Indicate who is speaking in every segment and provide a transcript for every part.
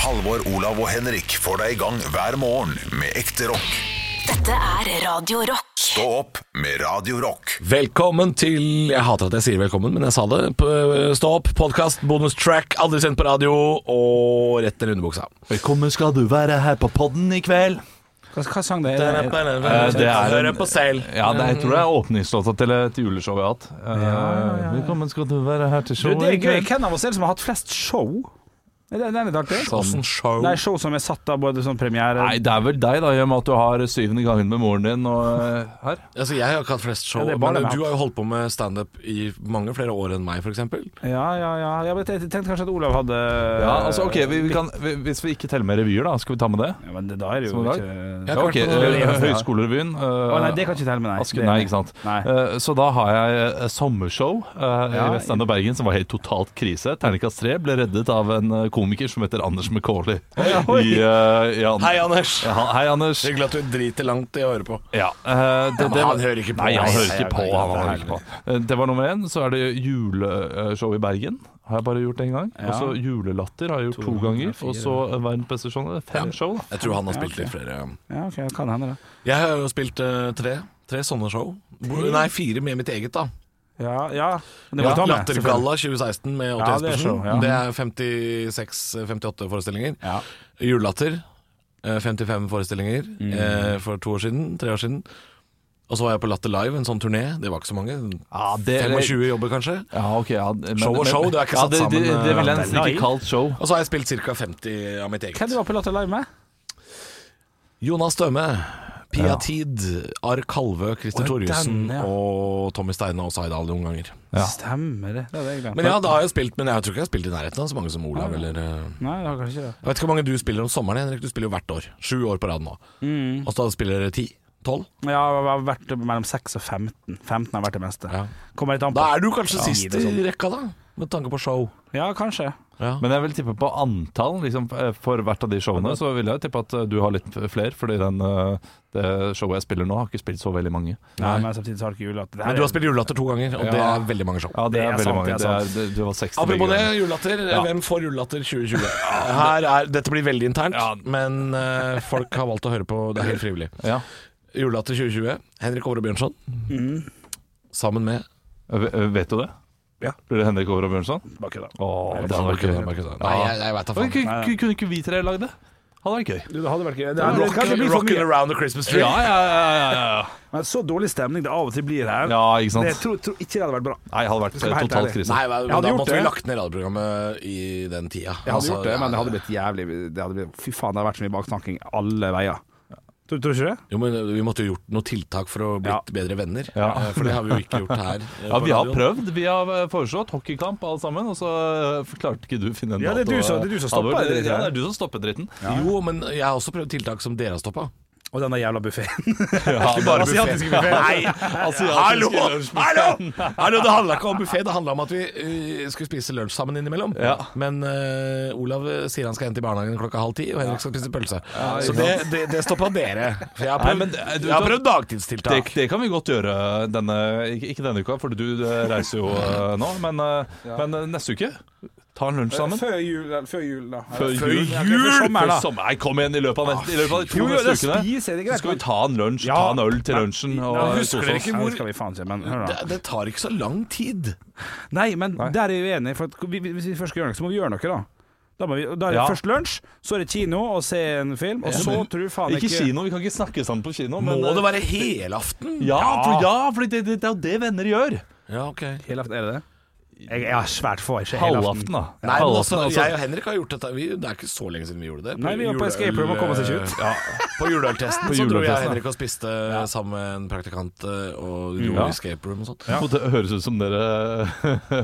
Speaker 1: Halvor, Olav og Henrik får deg i gang hver morgen med ekte rock.
Speaker 2: Dette er Radio Rock.
Speaker 1: Stå opp med Radio Rock.
Speaker 3: Velkommen til Jeg hater at jeg sier velkommen, men jeg sa det. P- eh, Stå opp, podkast, bonustrack, aldri sendt på radio, og rett til underbuksa.
Speaker 4: Velkommen skal du være her på podden i kveld.
Speaker 5: Hva, hva sang det?
Speaker 3: Det
Speaker 5: er?
Speaker 4: Eh, det er en-
Speaker 3: Hører på selv.
Speaker 4: Ja, det, jeg tror det er åpningslåta til et juleshow vi har hatt. Eh, Velkommen skal du være her til
Speaker 5: Du,
Speaker 4: showet
Speaker 5: det er
Speaker 4: i
Speaker 5: gøy.
Speaker 4: kveld.
Speaker 5: Hvem av oss er det som har hatt flest show? Er det- Den er litt artig.
Speaker 3: Åssen Mm. show.
Speaker 5: Nei, show som er satt av både sånn premiere
Speaker 4: Nei, det er vel deg, da, i og med at du har syvende gangen med moren din og eh, her.
Speaker 3: Altså, jeg har ikke hatt flest show,
Speaker 5: Ja, det er bare
Speaker 3: men
Speaker 5: meg.
Speaker 3: du har jo holdt på med standup i mange flere år enn meg, f.eks.
Speaker 5: Ja, ja, ja. Jeg vet- jeg tenkte kanskje at Olav hadde
Speaker 4: Ja, altså, ok, vi, vi kan, vi, Hvis vi ikke teller med revyer, da, skal vi ta med det?
Speaker 5: Ja, men det- da er det jo
Speaker 4: Som i dag?
Speaker 5: ikke
Speaker 3: Jeg
Speaker 4: Ja,
Speaker 3: har
Speaker 4: ok,
Speaker 3: ikke vært på noe
Speaker 4: eh,
Speaker 3: revy.
Speaker 4: Høyskolerevyen.
Speaker 5: Å nei, det kan ikke telle med, nei.
Speaker 4: Aske,
Speaker 5: Det-
Speaker 4: nei, ikke sant.
Speaker 5: Nei.
Speaker 4: Eh, Så da har jeg eh, sommershow eh,
Speaker 5: Ja.
Speaker 4: i Vestlandet og Bergen som var helt totalt krise. Terningkast 3 ble reddet av en eh, komiker som heter Anders McCauley.
Speaker 5: oi.
Speaker 4: I, eh, i An-
Speaker 3: Hei, Anders.
Speaker 4: Ja, Hei, Anders.
Speaker 3: Hyggelig at du driter langt i å høre på.
Speaker 4: Ja, eh, det,
Speaker 3: men han hører ikke på.
Speaker 4: Nei, han
Speaker 3: Nei,
Speaker 4: hører
Speaker 3: nei,
Speaker 4: ikke på.
Speaker 3: nei,
Speaker 4: Han
Speaker 3: nei,
Speaker 4: hører
Speaker 3: nei,
Speaker 4: ikke på. Eh, Det var nummer én. Så er det juleshow i Bergen. Har jeg bare gjort én gang. Og så Julelatter har jeg gjort to ganger. Og så eh, Verdens beste show. Det er Fem show, da.
Speaker 3: Jeg tror han har spilt litt flere.
Speaker 5: Ja, ok, det kan hende det.
Speaker 3: Jeg har jo spilt eh, tre. Tre sånne show. Hvor- Nei, fire med mitt eget, da.
Speaker 5: Ja, ja. Men det må
Speaker 3: Ja,
Speaker 5: du ta med,
Speaker 3: Lattergalla 2016 med Åte
Speaker 5: Ja, det er
Speaker 3: Jespersen.
Speaker 5: show, ja.
Speaker 3: Det er 56-58 forestillinger.
Speaker 5: Ja.
Speaker 3: Julelatter. eh, 55 forestillinger
Speaker 5: Mm.
Speaker 3: eh, for to år siden, tre år siden. Og så var jeg på Latter Live, en sånn turné. Det var ikke så mange.
Speaker 4: Ja, det-
Speaker 3: 25 jobber, kanskje.
Speaker 4: Ja, ok, ja, men,
Speaker 3: Show og show, det er ikke satt
Speaker 4: det, det,
Speaker 3: sammen,
Speaker 4: Det ville jeg
Speaker 3: eh,
Speaker 4: nesten
Speaker 5: nei.
Speaker 4: ikke kalt show.
Speaker 3: Og så har jeg spilt ca. 50 av mitt
Speaker 5: Hvem
Speaker 3: eget.
Speaker 5: du var på Latter Live med?
Speaker 3: Jonas Døme, Pia Tid, Arr Kalvø, Christer Thorjussen
Speaker 5: den, ja.
Speaker 3: og Tommy Steine og Zaid Ali noen ganger.
Speaker 4: Ja.
Speaker 5: Stemmer det. Det hadde jeg glemt.
Speaker 3: Men ja, da har jeg spilt, men jeg tror ikke jeg har spilt i nærheten av så mange som
Speaker 5: Ah.
Speaker 3: Olav eller eh,
Speaker 5: Nei, det har kanskje ikke det.
Speaker 3: Jeg vet ikke hvor mange du spiller om sommeren, Henrik. Du spiller jo hvert år. Sju år på rad nå. Og så spiller dere ti? Tolv?
Speaker 5: Ja, jeg har vært mellom 6 og 15. 15 har vært det meste.
Speaker 3: Ja.
Speaker 5: Kommer litt an på.
Speaker 3: Da er du kanskje
Speaker 5: Ja.
Speaker 3: sist i rekka, da. Med tanke på show.
Speaker 5: Ja, kanskje.
Speaker 4: Men jeg vil tippe på antall liksom, for hvert av de showene. Så vil jeg tippe at eh, du har litt flere, fordi den, eh, det showet jeg spiller nå, har ikke spilt så veldig mange.
Speaker 5: Nei, men samtidig så har ikke julelatter. Det her
Speaker 3: Men du
Speaker 5: er-
Speaker 3: har spilt Julelatter to ganger, og det
Speaker 4: Ja.
Speaker 3: er veldig mange show.
Speaker 4: Ja, det,
Speaker 5: Det
Speaker 4: er,
Speaker 5: er
Speaker 4: veldig
Speaker 5: sant,
Speaker 4: mange.
Speaker 5: det er sant.
Speaker 4: Det er, det var 60
Speaker 3: Apropos
Speaker 4: begge
Speaker 3: det,
Speaker 4: ganger.
Speaker 3: julelatter.
Speaker 4: Ja.
Speaker 3: Hvem får julelatter 2020? Her er, dette blir veldig internt,
Speaker 4: Ja.
Speaker 3: men eh, folk har valgt å høre på. Det er helt frivillig.
Speaker 4: Ja.
Speaker 3: Julelatter 2020. Henrik Åre Bjørnson. Sammen med
Speaker 4: V- Eh, Vet du det?
Speaker 5: Ja.
Speaker 4: Blir det Henrik Over og Bjørnson?
Speaker 5: Bare kødda.
Speaker 4: Åh,
Speaker 5: Jeg vet
Speaker 4: det hadde vært
Speaker 3: Markus-
Speaker 4: gøy.
Speaker 3: Markus- Nei, jeg, jeg veit da
Speaker 4: Oi,
Speaker 3: faen.
Speaker 4: ku- ku- Kunne ikke vi tre lagd det? Hadde vært gøy.
Speaker 5: Du, det hadde vært gøy. Det, det, kan
Speaker 3: Rockin'
Speaker 5: bli for
Speaker 3: rockin'
Speaker 5: mye.
Speaker 3: around the Christmas tree.
Speaker 4: Ja, ja, ja. ja, ja.
Speaker 5: Men så dårlig stemning det av og til blir her,
Speaker 4: ja ikke
Speaker 5: det
Speaker 4: sant?
Speaker 5: tror, tror ikke det hadde vært bra.
Speaker 4: Nei, hadde vært
Speaker 5: skal være helt
Speaker 4: totalt
Speaker 5: ærlig.
Speaker 4: krise.
Speaker 3: Nei, men
Speaker 5: Jeg hadde
Speaker 3: da
Speaker 5: gjort
Speaker 3: måtte vi
Speaker 5: det.
Speaker 3: lagt ned radioprogrammet i den tida.
Speaker 5: Jeg hadde
Speaker 3: Altså,
Speaker 5: gjort det, men det
Speaker 3: ja,
Speaker 5: hadde blitt jævlig det hadde blitt, Fy faen, det hadde vært så mye baksnakking alle veier. Tror, tror du ikke det?
Speaker 3: Jo, men Vi måtte jo gjort noen tiltak for å blitt
Speaker 5: Ja.
Speaker 3: bedre venner.
Speaker 4: Ja.
Speaker 3: Eh, For det har vi jo ikke gjort her. eh,
Speaker 4: Ja,
Speaker 3: på
Speaker 4: Vi har
Speaker 3: radioen.
Speaker 4: prøvd. Vi har eh, foreslått hockeykamp alle sammen, og så eh, klarte ikke du å finne en
Speaker 5: Ja, det er
Speaker 4: dato,
Speaker 5: du som-
Speaker 4: eh,
Speaker 5: det er du som stopper
Speaker 4: Halvor.
Speaker 5: det dritten
Speaker 4: Ja,
Speaker 5: her.
Speaker 4: det er du som stopper dritten.
Speaker 3: Jo, men jeg har også prøvd tiltak som dere har stoppa.
Speaker 5: Og den der jævla buffeen.
Speaker 4: Ja,
Speaker 3: Bare
Speaker 4: men-
Speaker 3: buffé. Nei!
Speaker 4: Asiatiske
Speaker 3: Hallo!
Speaker 4: lunsjbuffé.
Speaker 3: Hallo! Hallo! Det handla ikke om buffé, det handla om at vi eh, skulle spise lunsj sammen innimellom.
Speaker 4: Ja.
Speaker 3: Men eh, Olav eh, sier han skal hente i barnehagen klokka halv ti, og Henrik skal spise pølse. Så
Speaker 4: ikke
Speaker 3: det, det, det stoppa dere. For jeg har
Speaker 4: Nei, men
Speaker 3: prøvd,
Speaker 4: det- du-
Speaker 3: jeg har prøvd
Speaker 4: Det,
Speaker 3: dagtidstiltak.
Speaker 4: det kan vi godt gjøre denne Ikke, ikke denne uka, for du eh, reiser jo eh, nå. Men, eh, men eh, neste uke ta en lunsj sammen.
Speaker 5: Eh, Før jul, før jul, da.
Speaker 4: Før jul!
Speaker 5: før sommeren, da.
Speaker 4: Før sommer- Nei, kom igjen, i løpet av, neste, i løpet av de to
Speaker 5: Jo, jo, da
Speaker 4: neste ukene.
Speaker 5: spiser jeg det
Speaker 4: Så skal vi
Speaker 5: greit.
Speaker 4: ta en lunsj,
Speaker 5: Ja.
Speaker 4: ta en øl til lunsjen. Og,
Speaker 5: Nei,
Speaker 3: husker
Speaker 4: kose
Speaker 3: dere
Speaker 4: oss.
Speaker 3: ikke
Speaker 5: Nei,
Speaker 3: hvor-
Speaker 5: det skal vi faen ikke, men hør
Speaker 3: Det,
Speaker 5: da.
Speaker 3: det tar ikke så lang tid.
Speaker 5: Nei, men der er jeg uenig, for at vi, vi- hvis vi først skal gjøre noe, så må vi gjøre noe, da. Da, må vi, da er det
Speaker 4: Ja.
Speaker 5: først lunsj, så er det kino og se en film, og så tror du faen
Speaker 4: Ikke
Speaker 5: ikke
Speaker 4: kino, vi kan ikke snakke sammen på kino. Men,
Speaker 3: Må
Speaker 4: eh,
Speaker 3: det være helaften?
Speaker 4: ja, for, ja, for det, det, det er jo det venner gjør.
Speaker 3: Ja, ok
Speaker 5: Helaften, er det det? Jeg, jeg har svært få, ikke helaften.
Speaker 4: Halvaften, da.
Speaker 3: Nei, men altså,
Speaker 4: Halvaften,
Speaker 3: Jeg og Henrik har gjort dette vi, Det er ikke så lenge siden vi gjorde det.
Speaker 5: Nei, vi var på
Speaker 3: juleøl-
Speaker 5: escape room og kom oss ikke ut.
Speaker 3: Ja, på juleøltesten
Speaker 4: På
Speaker 3: så dro jeg og
Speaker 4: juleøltesten,
Speaker 3: Henrik og spiste eh, sammen med en praktikant eh, og dro
Speaker 4: Ja.
Speaker 3: i escape room og sånt.
Speaker 4: Og Det høres ut som dere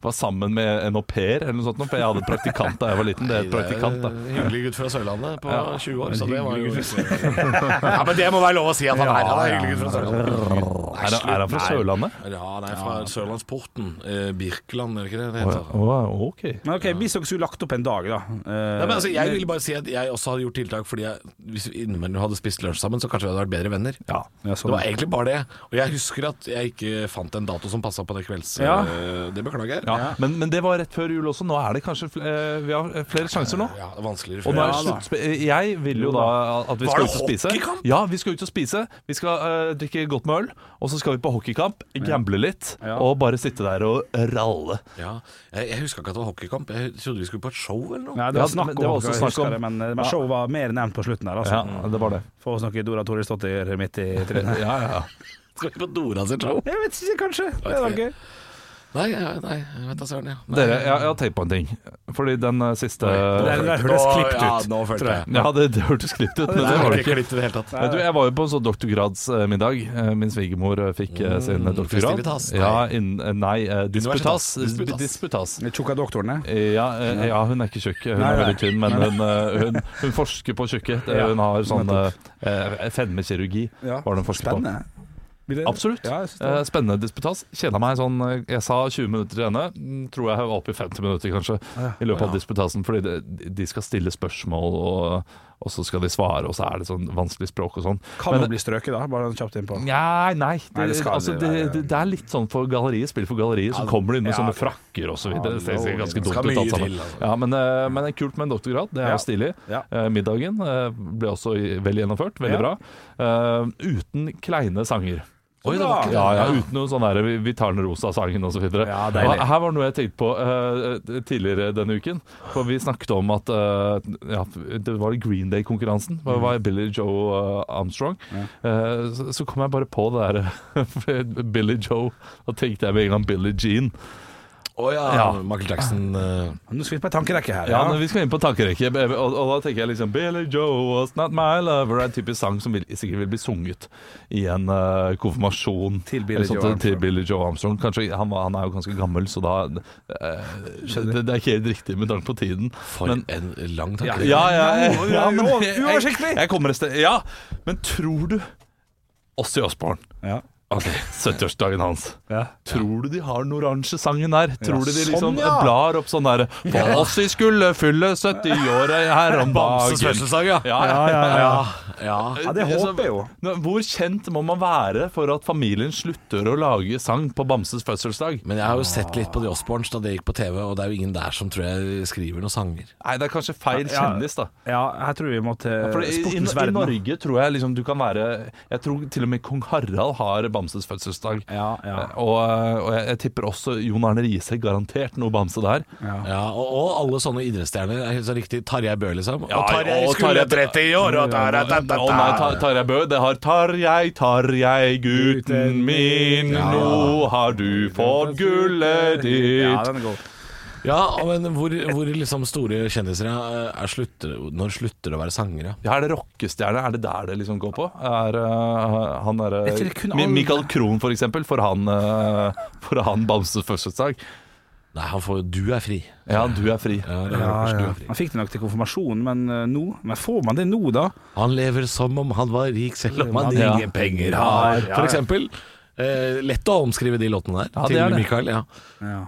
Speaker 4: var sammen med en au pair eller noe sånt, nå, for jeg hadde praktikant da jeg var liten. Det er et praktikant, da.
Speaker 3: Hyggelig gutt fra Sørlandet på
Speaker 4: Ja.
Speaker 3: 20 år. Så det var jo ja, Men det må være lov å si at han er. Han er hyggelig gutt fra Sørlandet.
Speaker 4: Er han, er han fra
Speaker 5: Nei.
Speaker 4: Sørlandet?
Speaker 3: Ja, nei, fra Sørlandsporten. Eh, Birkeland, er det ikke det det
Speaker 4: Å,
Speaker 3: heter?
Speaker 4: å, ok.
Speaker 5: Men ok, Hvis dere skulle lagt opp en dag, da eh,
Speaker 3: Nei, men altså, jeg vil bare si at jeg også hadde gjort tiltak fordi jeg, hvis vi innimellom hadde spist lunsj sammen, så kanskje vi hadde vært bedre venner.
Speaker 4: Ja.
Speaker 5: ja,
Speaker 3: Det
Speaker 5: sånn.
Speaker 3: var egentlig bare det. Og jeg husker at jeg ikke fant en dato som passa på det kvelds...
Speaker 5: Ja.
Speaker 3: øh, Det beklager jeg.
Speaker 4: Ja. Men, men det var rett før jul også. Nå er det kanskje fl eh, vi har flere sjanser nå.
Speaker 3: Ja, det er vanskeligere
Speaker 4: Og
Speaker 3: før.
Speaker 4: nå er
Speaker 3: Ja,
Speaker 4: det
Speaker 3: da.
Speaker 4: sluttspill. Jeg vil jo da at vi
Speaker 3: Var
Speaker 4: skal
Speaker 3: det
Speaker 4: ut og spise.
Speaker 3: hockeykamp?
Speaker 4: Ja, vi skal ut og spise. Vi skal eh, drikke godt med øl, og så skal vi på hockeykamp, gamble litt,
Speaker 5: Ja.
Speaker 4: og bare sitte der og ralle.
Speaker 3: ja. Jeg, jeg huska ikke at det var hockeykamp. Jeg trodde vi skulle på et show eller noe.
Speaker 5: Nei, det var
Speaker 4: Ja,
Speaker 5: snakk
Speaker 4: men
Speaker 5: om,
Speaker 4: det var også
Speaker 5: jeg
Speaker 4: snakk
Speaker 5: husker
Speaker 4: om-
Speaker 5: det, men, eh, men
Speaker 4: Ja.
Speaker 5: showet var mer nevnt på slutten der, altså.
Speaker 4: Ja, det var det.
Speaker 5: Få oss noe Dora Toresdottir midt i
Speaker 4: Ja,
Speaker 5: trynet.
Speaker 4: ja, ja.
Speaker 3: Skal vi på Dora sitt show?
Speaker 5: Jeg vet ikke, kanskje. Det
Speaker 3: Vet
Speaker 5: var
Speaker 3: ikke.
Speaker 5: gøy.
Speaker 3: Nei, jeg- nei, jeg vet da søren. Ja. Nei.
Speaker 4: Dere, jeg, jeg har tenkt på en ting. Fordi den eh, siste
Speaker 5: Det
Speaker 4: Ja,
Speaker 5: der- der hørtes
Speaker 3: Å,
Speaker 5: klippet
Speaker 3: ja,
Speaker 5: ut,
Speaker 3: nå følte jeg.
Speaker 4: det, det hørtes klipt ut, men det
Speaker 3: Det
Speaker 4: var
Speaker 3: var
Speaker 4: det ikke.
Speaker 3: ikke klippet i det hele tatt.
Speaker 4: Men Du, jeg var jo på en sånn doktorgradsmiddag. Eh, Min svigermor eh, fikk eh, sin
Speaker 3: Mm,
Speaker 4: doktorgrad.
Speaker 3: festivitas, nei.
Speaker 4: Ja, inn, eh, nei, eh, disputas.
Speaker 3: Universitas.
Speaker 4: Disputas.
Speaker 5: De Tjukka doktorene.
Speaker 4: Eh, Ja, eh, ja, hun er ikke tjukk. Hun
Speaker 5: Nei,
Speaker 4: er
Speaker 5: nei.
Speaker 4: veldig tynn, men hun, eh, hun, hun forsker på tjukkhet. Eh,
Speaker 5: Ja,
Speaker 4: Hun har sånn eh, fedmekirurgi.
Speaker 5: Ja.
Speaker 4: Var det hun forsket på.
Speaker 5: Spennende. Vil det-
Speaker 4: Absolutt.
Speaker 5: Ja, jeg synes det
Speaker 4: Eh,
Speaker 5: var-
Speaker 4: Spennende disputas. Kjeda meg sånn eh, Jeg sa 20 minutter til henne. Mm, Tror jeg jeg var oppe i 50 minutter, kanskje,
Speaker 5: Ah,
Speaker 4: i løpet av disputasen. Fordi det- de skal stille spørsmål, og, og så skal de svare, og så er det sånn vanskelig språk og sånn.
Speaker 5: Kan man bli strøket da? Bare kjapt innpå.
Speaker 4: Nei, nei. Det,
Speaker 5: Nei, det skal
Speaker 4: altså,
Speaker 5: det
Speaker 4: det,
Speaker 5: være.
Speaker 4: det, det er litt sånn for galleriet, spill for galleriet, så kommer de inn med
Speaker 5: ja,
Speaker 4: sånne
Speaker 5: ok.
Speaker 4: frakker og så videre. Det ser ser ganske
Speaker 3: Det
Speaker 4: dumt
Speaker 3: skal
Speaker 4: ut
Speaker 3: mye
Speaker 4: alt sammen.
Speaker 3: til, altså.
Speaker 4: Ja, men, eh, men det er kult med en doktorgrad, det er
Speaker 5: Ja.
Speaker 4: jo stilig.
Speaker 5: Ja.
Speaker 4: Eh, Middagen eh, ble også i- vel gjennomført, veldig
Speaker 5: Ja.
Speaker 4: bra. Eh, Uten kleine sanger.
Speaker 3: Oi, det var ikke
Speaker 4: Ja, ja, uten noe sånn der, vi, vi tar den rosa sangen og så videre.
Speaker 5: Ja,
Speaker 4: Og
Speaker 5: deilig.
Speaker 4: her var noe jeg tenkte på eh, tidligere denne uken. For vi snakket om at eh, ja, det var Green Day-konkurransen. Det var Billy Joe eh, Armstrong. Eh, så, så kom jeg bare på det der for Billy Joe. Da tenkte jeg med en gang Billie Jean.
Speaker 3: Å ja,
Speaker 4: Ja.
Speaker 3: Michael Jackson. eh,
Speaker 5: Nå skal vi på en tankerekke her.
Speaker 4: Ja, men Vi skal inn på tankerekke, og, og da tenker jeg liksom Billy Joe was not my lover. En typisk sang som vil, sikkert vil bli sunget i en eh, konfirmasjon.
Speaker 5: Til Billy
Speaker 4: Eller sånt,
Speaker 5: Joe Armstrong.
Speaker 4: Til Billy Joe Armstrong. Kanskje, han, var- han er jo ganske gammel, så da eh, det, det er ikke helt riktig med tanke på tiden.
Speaker 3: For
Speaker 4: Men-
Speaker 3: en lang
Speaker 4: Ja,
Speaker 3: tanke.
Speaker 4: ja, ja, ja, men
Speaker 5: uover-
Speaker 4: jeg-
Speaker 5: uoversiktlig.
Speaker 4: Jeg, jeg kommer et sted. Ja, men tror du Åssi Osborn,
Speaker 5: Ja.
Speaker 4: 70-årsdagen hans
Speaker 5: Ja.
Speaker 4: Tror du de har den oransje sangen der? Tror du de
Speaker 5: sånn,
Speaker 4: liksom
Speaker 5: ja.
Speaker 4: blar opp sånn der For Åssi skulle fylle 70 år her om
Speaker 3: Bamses
Speaker 4: dagen.
Speaker 3: fødselsdag, ja. Ah,
Speaker 4: Ja, ja, ja.
Speaker 3: Ja.
Speaker 5: Ja, det håper jeg jo.
Speaker 4: Nå, Hvor kjent må man være for at familien slutter å lage sang på Bamses fødselsdag?
Speaker 3: Men jeg har jo sett litt på The Osborns da det gikk på TV, og det er jo ingen der som tror jeg skriver noen sanger.
Speaker 4: Nei, det er kanskje feil
Speaker 5: Ja.
Speaker 4: kjendis, da.
Speaker 5: Ja, her tror vi må til
Speaker 4: For i, i,
Speaker 5: sportens
Speaker 4: I
Speaker 5: verden. da.
Speaker 4: Norge tror jeg liksom du kan være Jeg tror til og med kong Harald har Bamses fødselsdag. Eh,
Speaker 5: Ja, ja.
Speaker 4: Og, og jeg, jeg tipper også Jon Arne Riise. Garantert noe Bamse der.
Speaker 3: Ja, og, og alle sånne idrettsstjerner. Er helt sånn riktig Tarjei Bø, liksom.
Speaker 4: Ja,
Speaker 3: og Tarjei
Speaker 4: og
Speaker 3: skulle
Speaker 4: Tarjei-
Speaker 3: 30 år, og Tarjei ta, ta,
Speaker 4: Å nei,
Speaker 3: ta.
Speaker 4: Ta- Tarjei Bø, det har Tarjei, Tarjei, gutten min, nå har du fått gullet
Speaker 5: Ja,
Speaker 4: ditt.
Speaker 5: den er god.
Speaker 3: Ja, men hvor, hvor liksom store kjendiser er, er slutter, når slutter det å være sangere?
Speaker 4: Ja, er det rockestjerne? Er det der det liksom går på? Er eh, han derre
Speaker 5: Jeg tror kun
Speaker 4: Mi-
Speaker 5: alle-
Speaker 4: Michael Krohn, for eksempel, for han, eh, for han Bamses fødselsdag.
Speaker 3: Nei, han får Du er fri.
Speaker 4: Ja, du er fri.
Speaker 3: Ja, det er
Speaker 5: Ja,
Speaker 3: Rockers, du
Speaker 5: ja.
Speaker 3: er fri.
Speaker 5: Man fikk det nok til konfirmasjonen, men eh, nå Men får man det nå, da?
Speaker 3: Han lever som om han var rik, selv om han
Speaker 4: Ja.
Speaker 3: ingen penger har.
Speaker 5: Ja, ja.
Speaker 3: For eksempel. Eh, lett å omskrive de låtene der
Speaker 4: Ja, det
Speaker 3: til
Speaker 4: er det.
Speaker 3: Michael. Ja.
Speaker 5: Ja.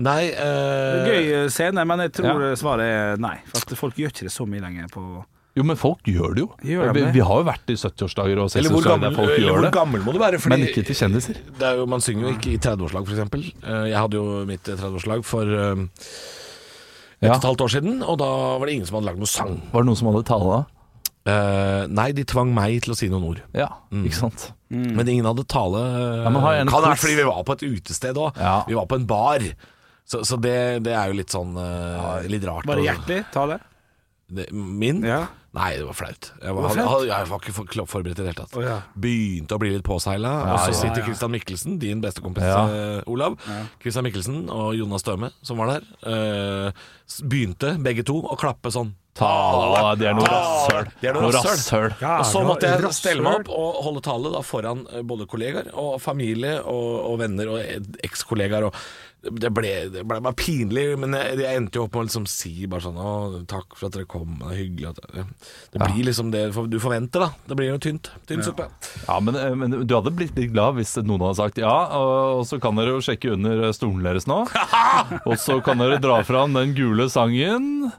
Speaker 3: Nei eh,
Speaker 5: Gøy eh, scene, men jeg tror eh, svaret er nei. For at folk gjør ikke det så mye lenger på
Speaker 4: Jo, men folk gjør det jo.
Speaker 5: Gjør de
Speaker 4: vi,
Speaker 5: det?
Speaker 4: vi har jo vært i 70-årsdager og 60-årsdager der folk gjør det.
Speaker 3: må du være?
Speaker 4: Men ikke til kjendiser.
Speaker 3: Det er jo, man synger jo ikke i 30-årslag, f.eks. Eh, Jeg hadde jo mitt 30-årslag for eh, et
Speaker 4: Ja.
Speaker 3: og et halvt år siden, og da var det ingen som hadde lagd noen sang.
Speaker 4: Var det noen som hadde tale?
Speaker 3: Eh, nei, de tvang meg til å si noen ord.
Speaker 4: Ja, ikke sant.
Speaker 3: Men ingen hadde tale. eh,
Speaker 4: Mm. Ja, men har jeg en
Speaker 3: kan være
Speaker 4: quiz?
Speaker 3: fordi vi var på et utested òg.
Speaker 4: Ja.
Speaker 3: Vi var på en bar. Så, så det, det er jo litt sånn eh, litt rart.
Speaker 5: Bare
Speaker 3: å-
Speaker 5: hjertelig, ta det.
Speaker 3: det, min?
Speaker 5: Ja.
Speaker 3: Nei, det var flaut. Jeg var,
Speaker 5: var flaut?
Speaker 3: hadde- jeg var ikke for, kla- forberedt i det hele tatt.
Speaker 5: Å, ja.
Speaker 3: Begynte å bli litt påseila. og så sitter Christian Mikkelsen, din beste kompis
Speaker 4: Ja.
Speaker 3: eh, Olav, Christian Mikkelsen og Jonas Støme, som var der, eh, s- begynte begge to å klappe sånn.
Speaker 4: Tale, de er noe
Speaker 3: Tale!
Speaker 4: rasshøl.
Speaker 3: De er noe rasshøl.
Speaker 5: Ja,
Speaker 3: og så
Speaker 5: nå-
Speaker 3: måtte jeg
Speaker 5: rasshøl.
Speaker 3: stelle meg opp og holde tale da foran eh, både kollegaer og familie og, og venner og ekskollegaer. Og det ble, det ble bare pinlig, men jeg, jeg endte jo opp med å liksom si bare sånn Å, takk for at dere kom, det er hyggelig at dere Det blir liksom det for- du forventer, da. Det blir jo tynt. Tynn suppe.
Speaker 4: Ja, men, eh, men du hadde blitt litt glad hvis noen hadde sagt ja, og og så kan dere jo sjekke under eh, stolen deres nå. Og så kan dere dra fram den gule sangen.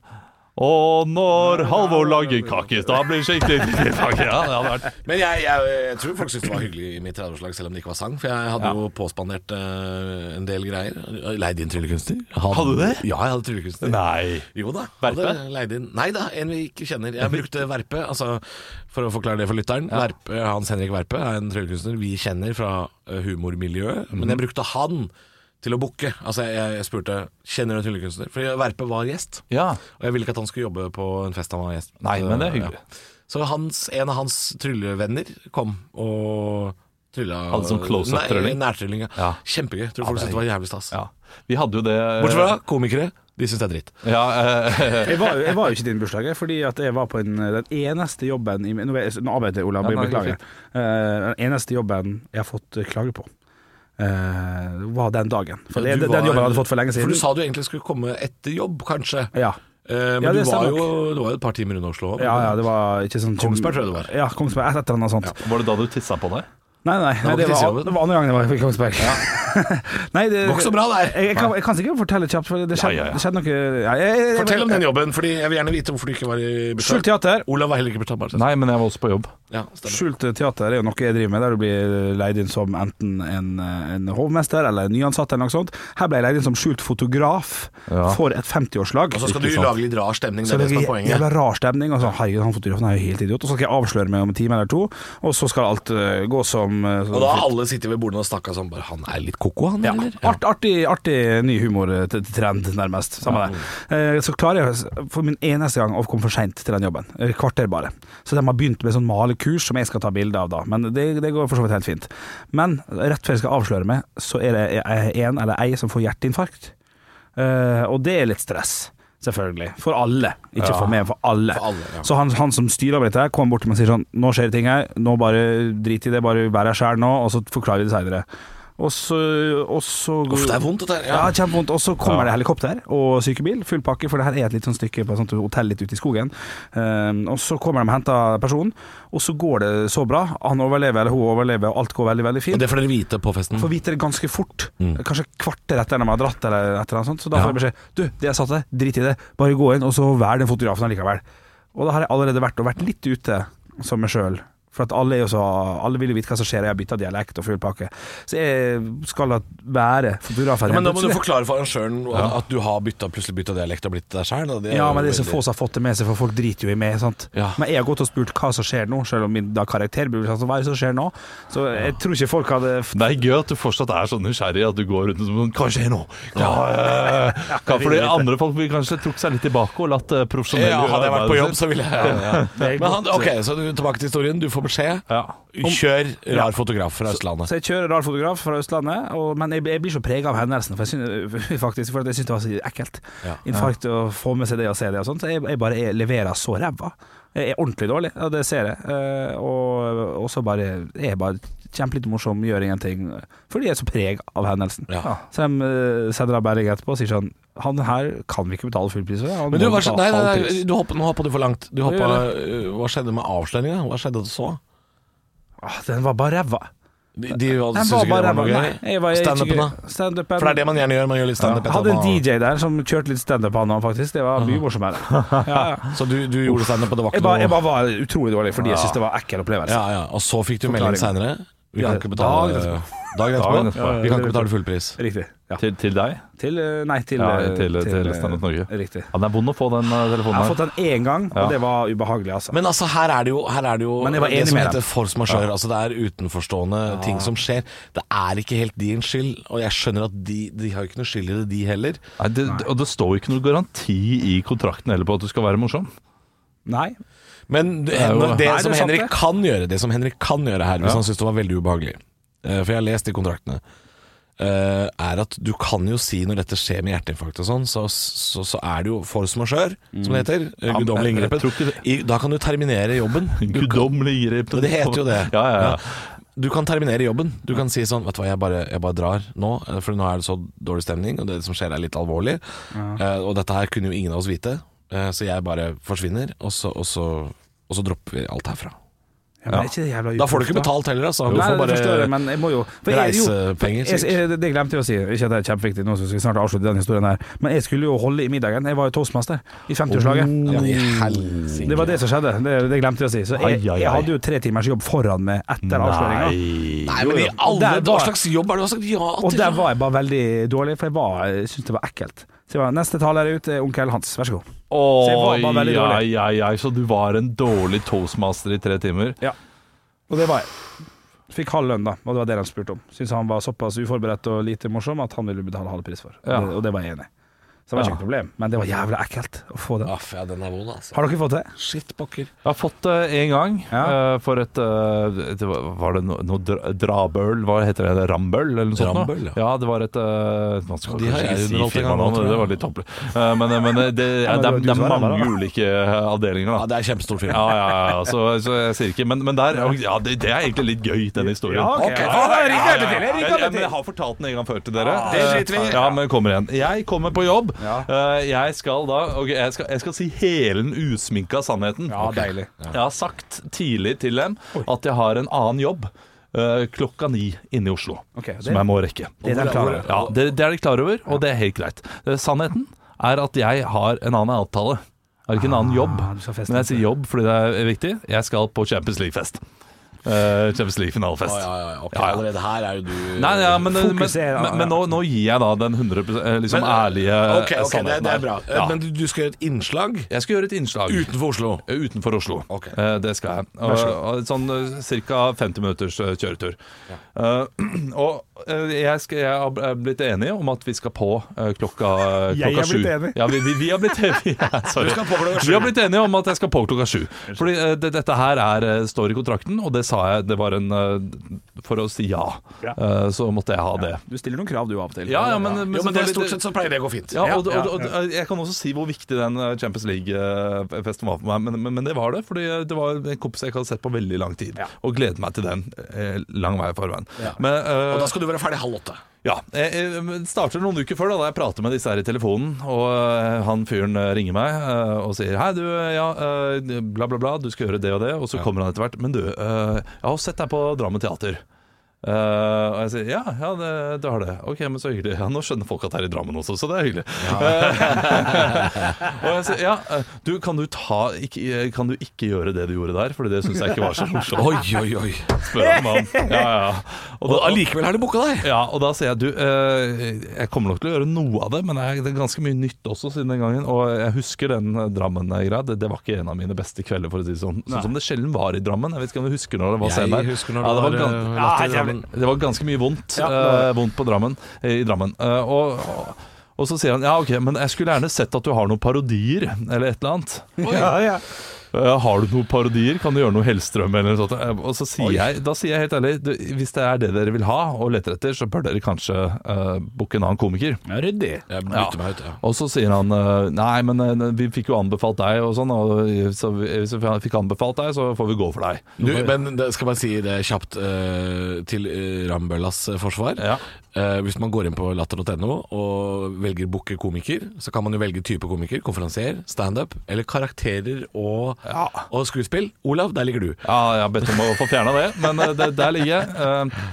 Speaker 4: Og når Halvor lager kake, da blir det skikkelig skikkelig kake. Ja, det hadde vært
Speaker 3: Men jeg, jeg, jeg tror folk syntes det var hyggelig i mitt 30-årslag, selv om det ikke var sang. For jeg hadde jo påspandert eh, en del greier. Leid inn tryllekunstner. Hadde,
Speaker 4: Hadde du det?
Speaker 3: Ja, jeg hadde tryllekunstner.
Speaker 4: Nei.
Speaker 3: Jo da.
Speaker 4: Verpe?
Speaker 3: hadde Leid inn. Nei da, en vi ikke kjenner. Jeg brukte Verpe, altså, for å forklare det for lytteren. Verpe, Hans Henrik Verpe er en tryllekunstner vi kjenner fra eh, humormiljøet. Men
Speaker 4: Mhm.
Speaker 3: jeg brukte han til å booke. Altså, jeg, jeg spurte kjenner du en tryllekunstner. Fordi Verpe var gjest.
Speaker 4: Ja.
Speaker 3: Og jeg ville ikke at han skulle jobbe på en fest han var gjest på.
Speaker 4: Nei,
Speaker 3: Så,
Speaker 4: men det er hyggelig.
Speaker 3: Så hans, en av hans tryllevenner kom og trylla
Speaker 4: Hadde sånn close-up-trylling?
Speaker 3: Nei, nærtrylling. Ja.
Speaker 4: Ja.
Speaker 3: Kjempegøy. Tror folk
Speaker 4: det er
Speaker 3: syntes det var jævlig stas.
Speaker 4: ja. Vi hadde jo det eh,
Speaker 3: Bortsett fra komikere. De syns det er dritt.
Speaker 4: ja, eh,
Speaker 5: Jeg var, jo- jeg var jo ikke i din bursdag, jeg, fordi at jeg var på en, eh, den eneste jobben i, Nå, vet jeg- nå arbeider jeg, Olav,
Speaker 4: Ja, nei,
Speaker 5: beklager.
Speaker 4: det er
Speaker 5: Eh, Den eneste jobben jeg har fått eh, klage på, eh, var den dagen. For
Speaker 3: Ja, du
Speaker 5: det, den jobben
Speaker 3: var-
Speaker 5: jeg hadde fått for lenge siden.
Speaker 3: For du sa du egentlig skulle komme etter jobb, kanskje.
Speaker 5: ja.
Speaker 3: Eh, men
Speaker 5: Ja,
Speaker 3: du
Speaker 5: det
Speaker 3: var
Speaker 5: stemmer
Speaker 3: jo, det var jo et par timer unna Oslo.
Speaker 5: ja, ja, det var ikke sånn
Speaker 3: Kongsberg tror jeg det var.
Speaker 5: Ja, Kongsberg, et eller annet sånt.
Speaker 4: Var det da du tissa på deg?
Speaker 5: Nei, nei, nei
Speaker 3: var
Speaker 5: det,
Speaker 3: ikke
Speaker 5: var,
Speaker 3: tidsjobben.
Speaker 5: det var andre gangen jeg var i Kongsberg. nei, det
Speaker 3: Går ikke så bra der.
Speaker 5: Jeg, jeg, kan, jeg kan sikkert fortelle kjapt, for det skjedde,
Speaker 4: Ja, ja, ja.
Speaker 5: det skjedde noe ja, jeg, jeg, jeg,
Speaker 3: Fortell om den jobben, Fordi jeg vil gjerne vite hvorfor du ikke var i
Speaker 5: Skjult
Speaker 3: bursdag.
Speaker 5: teater.
Speaker 3: Olav var heller ikke i bursdag. bare.
Speaker 4: Nei, men jeg var også på jobb.
Speaker 3: Ja, stemmer.
Speaker 5: Skjult teater er jo noe jeg driver med, der du blir eh, leid inn som enten en, eh, en hovmester eller en nyansatt eller noe sånt. Her ble jeg leid inn som skjult fotograf
Speaker 4: Ja.
Speaker 5: for et 50-årslag.
Speaker 3: Og så skal du
Speaker 5: Ikke sant?
Speaker 3: lage litt rar stemning. Det
Speaker 5: Så
Speaker 3: er
Speaker 5: det
Speaker 3: det som er
Speaker 5: er
Speaker 3: poenget.
Speaker 5: jævla rar stemning. Og sånn, herregud, han fotografen er jo helt idiot. Og så skal jeg avsløre meg om en time eller to, og så skal alt eh, gå som eh,
Speaker 3: Og da har alle sittet ved bordene og snakka sånn bare Han er litt koko, han,
Speaker 5: Ja.
Speaker 3: eller?
Speaker 5: Art, artig, artig ny humortrend, nærmest. Samme det. Eh, Så klarer jeg for min eneste gang å komme for seint til den jobben. Eh, Kvarter bare. Så de har begynt med sånn malekurs som jeg skal ta bilde av da. Men det, det går for så vidt helt fint. Men rett før jeg skal avsløre meg, så er det en eller ei som får hjerteinfarkt. Eh, og det er litt stress. Selvfølgelig. For alle, ikke for meg, for alle.
Speaker 3: For alle, ja.
Speaker 5: Så han, han som styrer over dette, her, kommer bort til meg og sier sånn Nå skjer det ting her, nå bare drit i det, bare vær her sjæl nå, og så forklarer vi det seinere. Og så, og så
Speaker 3: Uff, det er vondt, dette her.
Speaker 5: Ja,
Speaker 3: Ja.
Speaker 5: kjempevondt. Og så kommer det helikopter og sykebil, full pakke, for det her er et litt sånn stykke på et sånt hotell litt ute i skogen. Ehm, og så kommer de og henter personen, og så går det så bra. Han overlever, eller hun overlever, og alt går veldig, veldig fint.
Speaker 3: Og det får dere vite på festen.
Speaker 5: Får vite det ganske fort,
Speaker 3: Mm.
Speaker 5: kanskje et kvarter etter at de har dratt. Eller et eller annet sånt Så da får jeg beskjed Du, det jeg satte, drit i det. Bare gå inn, og så vær den fotografen allikevel. Og da har jeg allerede vært og vært litt ute som meg sjøl. For at alle, er jo så, alle vil jo vite hva som skjer, jeg har bytta dialekt og full pakke. Så jeg skal da være fotograf her
Speaker 3: Ja, men da må du
Speaker 5: plutselig.
Speaker 3: forklare for arrangøren at du har bytta, plutselig bytta dialekt og blitt deg sjæl.
Speaker 5: Ja, men det er så få som har fått det med seg, for folk driter jo i meg. Sant?
Speaker 3: Ja.
Speaker 5: Men jeg har gått og spurt hva som skjer nå, selv om min da karakter blir sånn, så hva er det som skjer nå? Så jeg tror ikke folk hadde
Speaker 4: Det er gøy at du fortsatt er så nysgjerrig at du går rundt og sånn Hva skjer nå? Ja, eh, hva- fordi andre folk ville kanskje trukket seg litt tilbake og latt eh, profesjonelle
Speaker 3: ja, Hadde jeg vært på jobb, så ville jeg ja, ja.
Speaker 5: er
Speaker 3: Men han, Ok, så du, tilbake til historien. Du får beskjed.
Speaker 4: Ja.
Speaker 3: Kjør rar fotograf fra Østlandet.
Speaker 5: Så Altså, jeg kjører rar fotograf fra Østlandet, og, men jeg, jeg blir så prega av hendelsen, for jeg synes, faktisk, for at jeg syns det var så ekkelt.
Speaker 3: Ja.
Speaker 5: Infarkt å få med seg det og se det og sånt. Så jeg, jeg bare jeg leverer så ræva. Jeg er ordentlig dårlig, og det ser jeg. Eh, og, og så bare jeg er bare kjempelitt morsom, gjør ingenting. Fordi jeg er så preg av hendelsen.
Speaker 3: Ja.
Speaker 5: Så de eh, sender av melding etterpå og sier sånn Han her kan vi ikke betale full pris for. han
Speaker 3: Men du,
Speaker 5: må
Speaker 3: hva skjedde,
Speaker 5: betale
Speaker 3: nei, nei,
Speaker 5: halv
Speaker 3: nei,
Speaker 5: pris.»
Speaker 3: du hoppet, nå hoppa du for langt. Du hoppa,
Speaker 5: Ja,
Speaker 3: øh, hva skjedde med avsløringa? Hva skjedde så?
Speaker 5: Ah, Den var bare ræva.
Speaker 3: De, de
Speaker 5: Den
Speaker 3: synes
Speaker 5: var
Speaker 3: ikke
Speaker 5: bare
Speaker 3: det var
Speaker 5: ræva.
Speaker 3: noe
Speaker 5: Nei,
Speaker 3: gøy.
Speaker 5: jeg var- jeg-
Speaker 3: Standupen, da?
Speaker 5: Standupen-
Speaker 3: For det er det man gjerne gjør. Man gjør litt standup.
Speaker 5: Jeg hadde en
Speaker 3: etterpå.
Speaker 5: DJ der som kjørte litt standup, han òg, faktisk. Det var mye morsommere. Ja, ja.
Speaker 3: Så du, du gjorde standup, og det var
Speaker 5: Jeg
Speaker 3: ikke
Speaker 5: bare, jeg
Speaker 3: noe
Speaker 5: bare var utrolig dårlig, fordi jeg syntes det var ekkel opplevelse.
Speaker 3: Ja, ja. Og så fikk du melding seinere. Vi kan
Speaker 5: Ja,
Speaker 3: ikke betale
Speaker 5: dagen etterpå.
Speaker 3: Dagen
Speaker 4: Dagen
Speaker 3: etterpå.
Speaker 4: etterpå.
Speaker 3: Vi kan ikke betale full pris.
Speaker 5: Riktig. Ja.
Speaker 4: Til, til deg?
Speaker 5: Til eh, Nei, til,
Speaker 4: Ja,
Speaker 5: eh,
Speaker 4: til- til
Speaker 5: eh,
Speaker 4: Standup Norge.
Speaker 5: Riktig.
Speaker 4: Ja, det er vond å få den eh,
Speaker 5: Jeg har
Speaker 4: telefonen
Speaker 5: fått
Speaker 4: her.
Speaker 5: den én gang,
Speaker 4: Ja.
Speaker 5: og det var ubehagelig, altså.
Speaker 3: Men altså, her er det jo, her er det, jo
Speaker 5: Men jeg var
Speaker 3: det
Speaker 5: enig
Speaker 3: som
Speaker 5: med
Speaker 3: heter
Speaker 5: dem.
Speaker 3: force majeure. Altså, det er utenforstående ting som skjer. Det er ikke helt din skyld, og jeg skjønner at de, de har jo ikke noe skyld i det, de heller.
Speaker 4: Nei, det, og det står jo ikke noe garanti i kontrakten heller på at du skal være morsom.
Speaker 5: nei.
Speaker 3: Men det,
Speaker 4: er jo-
Speaker 3: det,
Speaker 5: Nei, det
Speaker 3: som
Speaker 5: er sant,
Speaker 3: Henrik
Speaker 5: det.
Speaker 3: kan gjøre Det som Henrik kan gjøre her, hvis han syns det var veldig ubehagelig eh, For jeg har lest de kontraktene. eh, er at du kan jo si når dette skjer med hjerteinfarkt og sånn, så, så, så er det jo force majeure, som det heter. eh,
Speaker 4: men
Speaker 3: Guddommelig
Speaker 4: jeg- jeg
Speaker 3: inngripen.
Speaker 4: tror ikke det-
Speaker 3: I- Da kan du terminere jobben.
Speaker 4: Guddommelig grep.
Speaker 3: Det heter jo det.
Speaker 4: Ja, ja, ja.
Speaker 3: Du kan terminere jobben. Du kan si sånn Vet du hva, jeg bare, jeg bare drar nå, eh, for nå er det så dårlig stemning, og det som skjer er litt alvorlig. Eh, og dette her kunne jo ingen av oss vite, eh, så jeg bare forsvinner, og så, og så, og så dropper vi alt herfra.
Speaker 5: Ja, men er ikke det
Speaker 3: Da
Speaker 5: jævla
Speaker 3: får du
Speaker 5: uproft,
Speaker 3: ikke betalt heller, altså. Du
Speaker 5: Nei,
Speaker 3: får
Speaker 5: det forstår jeg,
Speaker 3: bare
Speaker 5: men jeg må jo for jeg- jo-
Speaker 3: reisepenger,
Speaker 5: Jeg,
Speaker 3: sikkert.
Speaker 5: jeg, det glemte jeg å si, ikke at det er kjempeviktig, nå skal vi snart avslutte den historien her, men jeg skulle jo holde i middagen. Jeg var jo toastmaster i 50-årslaget.
Speaker 3: Oh, Ja, i helsike.
Speaker 5: Det var det som skjedde, det, det glemte jeg å si. Så jeg,
Speaker 4: Ai, ai, ai.
Speaker 5: jeg hadde jo tre timers jobb foran meg etter avsløringa.
Speaker 4: Nei.
Speaker 3: Nei, men i alle
Speaker 5: Der
Speaker 3: Hva
Speaker 5: var-
Speaker 3: slags jobb er det du har sagt ja til?
Speaker 5: Og der var jeg bare veldig dårlig, for jeg, var- jeg syntes det var ekkelt. Så jeg var neste taler er ute, onkel Hans, vær så god. jeg var
Speaker 4: Oi,
Speaker 5: bare veldig
Speaker 4: ai,
Speaker 5: dårlig.
Speaker 4: ai, ai. Så du var en dårlig toastmaster i tre timer?
Speaker 5: Og det var jeg. Fikk halv lønn, da, og det var det de spurte om. Syntes han var såpass uforberedt og lite morsom at han ville betale halv pris for.
Speaker 4: Ja.
Speaker 5: Det, og det var jeg enig i. Så det var ikke
Speaker 4: Ja.
Speaker 5: noe problem, men det var jævlig ekkelt å få det.
Speaker 3: Aff, ja, den er vond, altså.
Speaker 5: Har dere fått det?
Speaker 3: Shit, pokker.
Speaker 4: Jeg har fått det én gang.
Speaker 5: Ja.
Speaker 4: eh, for et eh, det var, var det no, noe dra- drabøl? Hva heter det? Rambøl? Eller noe sånt? noe?
Speaker 3: Rambøl, ja.
Speaker 4: ja. Det var et eh, Man skal
Speaker 3: De har jeg
Speaker 4: kanskje ikke
Speaker 3: underholdt
Speaker 4: si
Speaker 3: en gang nå,
Speaker 4: firmanavn,
Speaker 3: tror jeg.
Speaker 4: det var litt tåpelig. Eh, men men det, det,
Speaker 5: Ja,
Speaker 4: det,
Speaker 5: men det
Speaker 4: er,
Speaker 5: var du
Speaker 4: det er
Speaker 5: som var der,
Speaker 4: mange
Speaker 5: da.
Speaker 4: ulike eh, avdelinger,
Speaker 3: Ja,
Speaker 4: da.
Speaker 3: det er kjempestor film.
Speaker 4: Ja, ja, ja, ja. Så, så jeg sier ikke Men, men der, ja, det, det er egentlig litt gøy, den historien.
Speaker 5: Ja, ok.
Speaker 3: Ok,
Speaker 5: Ja, da ringer jeg til, jeg ringer
Speaker 4: Jeg,
Speaker 5: til.
Speaker 4: jeg, men jeg har fortalt den en gang før til dere.
Speaker 5: Ah, det driter vi i.
Speaker 4: Eh, Ja, men jeg kommer igjen. Jeg kommer på jobb.
Speaker 5: Ja.
Speaker 4: Eh, Jeg skal da ok, jeg, skal, jeg skal si hele den usminka sannheten.
Speaker 5: Ja,
Speaker 4: Ok.
Speaker 5: deilig.
Speaker 4: Jeg har sagt tidlig til dem at jeg har en annen jobb. eh, klokka ni inne i Oslo,
Speaker 5: Ok, det-
Speaker 4: som jeg må rekke.
Speaker 5: Det er de klar over.
Speaker 4: Ja, det, det er de klar over, og det er helt greit. Eh, sannheten er at jeg har en annen avtale. Jeg har ikke en
Speaker 3: Ah,
Speaker 4: annen jobb,
Speaker 5: du skal feste
Speaker 4: men jeg sier jobb fordi det er viktig. Jeg skal på Champions League-fest. Eh, Champions League-finalefest.
Speaker 3: Å, ja, ja, ja, ok.
Speaker 4: Ja, ja.
Speaker 3: Allerede her er jo du
Speaker 4: Nei, ja, men, men,
Speaker 5: Fokus er-
Speaker 4: men, men nå, nå gir jeg da den 100 eh, liksom, ærlige
Speaker 3: Ok, ok,
Speaker 4: sannheten
Speaker 3: det, det er bra. Eh,
Speaker 4: her. Ja.
Speaker 3: Men du, du skal gjøre et innslag
Speaker 4: jeg skal gjøre et innslag
Speaker 3: utenfor Oslo.
Speaker 4: Eh, utenfor Oslo.
Speaker 3: Ok.
Speaker 4: Eh, det skal jeg. Og, og, sånn ca. 50 minutters eh, kjøretur. Eh, og eh, jeg, skal, jeg har bl- blitt enige om at vi skal på eh, klokka,
Speaker 5: Jeg
Speaker 4: klokka
Speaker 5: har
Speaker 4: sju.
Speaker 5: blitt enig.
Speaker 4: Ja, vi, vi, vi har blitt enige. Ja, sorry.
Speaker 3: Du skal på klokka sju.
Speaker 4: Vi har blitt enige om at jeg skal på klokka sju. Fordi eh, det, dette her er, eh, står i kontrakten, og det sa jeg. Det var en eh, For å si ja,
Speaker 5: Ja.
Speaker 4: eh, så måtte jeg ha det.
Speaker 5: Du stiller noen krav du av og til.
Speaker 4: Ja, ja, men,
Speaker 3: Jo,
Speaker 4: men
Speaker 3: men det,
Speaker 4: selvfølgelig-
Speaker 3: stort sett så pleier det å gå fint.
Speaker 4: ja, og, og, og, Jeg kan også si hvor viktig den eh, Champions League-festen var for meg, men, men, men det var det. Fordi eh, det var en kompis jeg ikke hadde sett på veldig lang tid,
Speaker 5: Ja.
Speaker 4: og gledet meg til den eh, lang vei i forveien.
Speaker 3: Ja.
Speaker 4: Men, eh,
Speaker 3: Og da skal du være ferdig halv åtte.
Speaker 4: ja, jeg, jeg starter noen uker før da, da jeg prater med disse her i telefonen, og eh, han fyren eh, ringer meg eh, og sier Hei, du, ja, eh, bla, bla, bla, du skal gjøre det og det, og så kommer han etter hvert. Men du, eh, jeg har sett deg på Drammen Teater. Eh, og jeg sier ja, ja det, du har det. Ok, men så hyggelig. Ja, nå skjønner folk at det er i Drammen også, så det er hyggelig. Eh, og jeg sier ja, eh, du, kan du, ta, ikke, eh, kan du ikke gjøre det du gjorde der? Fordi det syns jeg ikke var så morsomt.
Speaker 3: Oi, oi, oi.
Speaker 4: Spør han meg om. Ja, ja.
Speaker 3: Og allikevel har de booka deg.
Speaker 4: Ja, og da sier jeg du, eh, jeg kommer nok til å gjøre noe av det, men jeg, det er ganske mye nytt også siden den gangen. Og jeg husker den eh, Drammen-greia. Det, det var ikke en av mine beste kvelder, for å si det sånn. Sånn som det sjelden var i Drammen. Jeg vet ikke om du husker når det var scenen der. ja, det, var eh, gan-
Speaker 3: eh, latter
Speaker 5: Ja,
Speaker 3: i
Speaker 5: helt jævlig.
Speaker 3: Drammen.
Speaker 4: det var ganske mye vondt,
Speaker 5: Ja, det var
Speaker 4: eh, vondt på Drammen, eh, i Drammen. Eh, og, og, og så sier han ja, ok, men jeg skulle gjerne sett at du har noen parodier, eller et eller annet.
Speaker 5: Ja, ja.
Speaker 4: Eh, Har du noen parodier? Kan du gjøre noe Hellstrøm eller noe sånt? Eh, Og så sier jeg, da sier jeg helt ærlig du, Hvis det er det dere vil ha og leter etter, så bør dere kanskje uh, booke en annen komiker.
Speaker 5: Ryddig.
Speaker 3: Jeg
Speaker 4: Ja.
Speaker 3: bytter meg ut, ja.
Speaker 4: Og så sier han eh, Nei, men eh, vi fikk jo anbefalt deg og sånn, og så vi, hvis vi fikk anbefalt deg, så får vi gå for deg.
Speaker 3: Du, men det skal bare si det kjapt eh, til eh, Rambøllas eh, forsvar.
Speaker 4: Ja.
Speaker 3: Eh, hvis man går inn på latter.no og velger booke komiker, så kan man jo velge type komiker. Konferansier, standup eller karakterer og,
Speaker 4: Ja.
Speaker 3: og skuespill. Olav, der ligger du.
Speaker 4: Ja, jeg har bedt om å få fjerna det, men eh, det, der ligger jeg. Eh,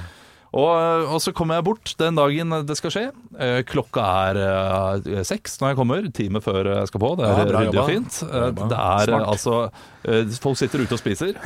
Speaker 4: Og, eh, og så kommer jeg bort den dagen det skal skje. Eh, Klokka er eh, seks når jeg kommer, time før jeg skal på. Det
Speaker 3: Ja,
Speaker 4: er
Speaker 3: bra
Speaker 4: ryddig
Speaker 3: jobba.
Speaker 4: og fint. Eh,
Speaker 3: Bra jobba.
Speaker 4: Det er eh, altså eh, Folk sitter ute og spiser.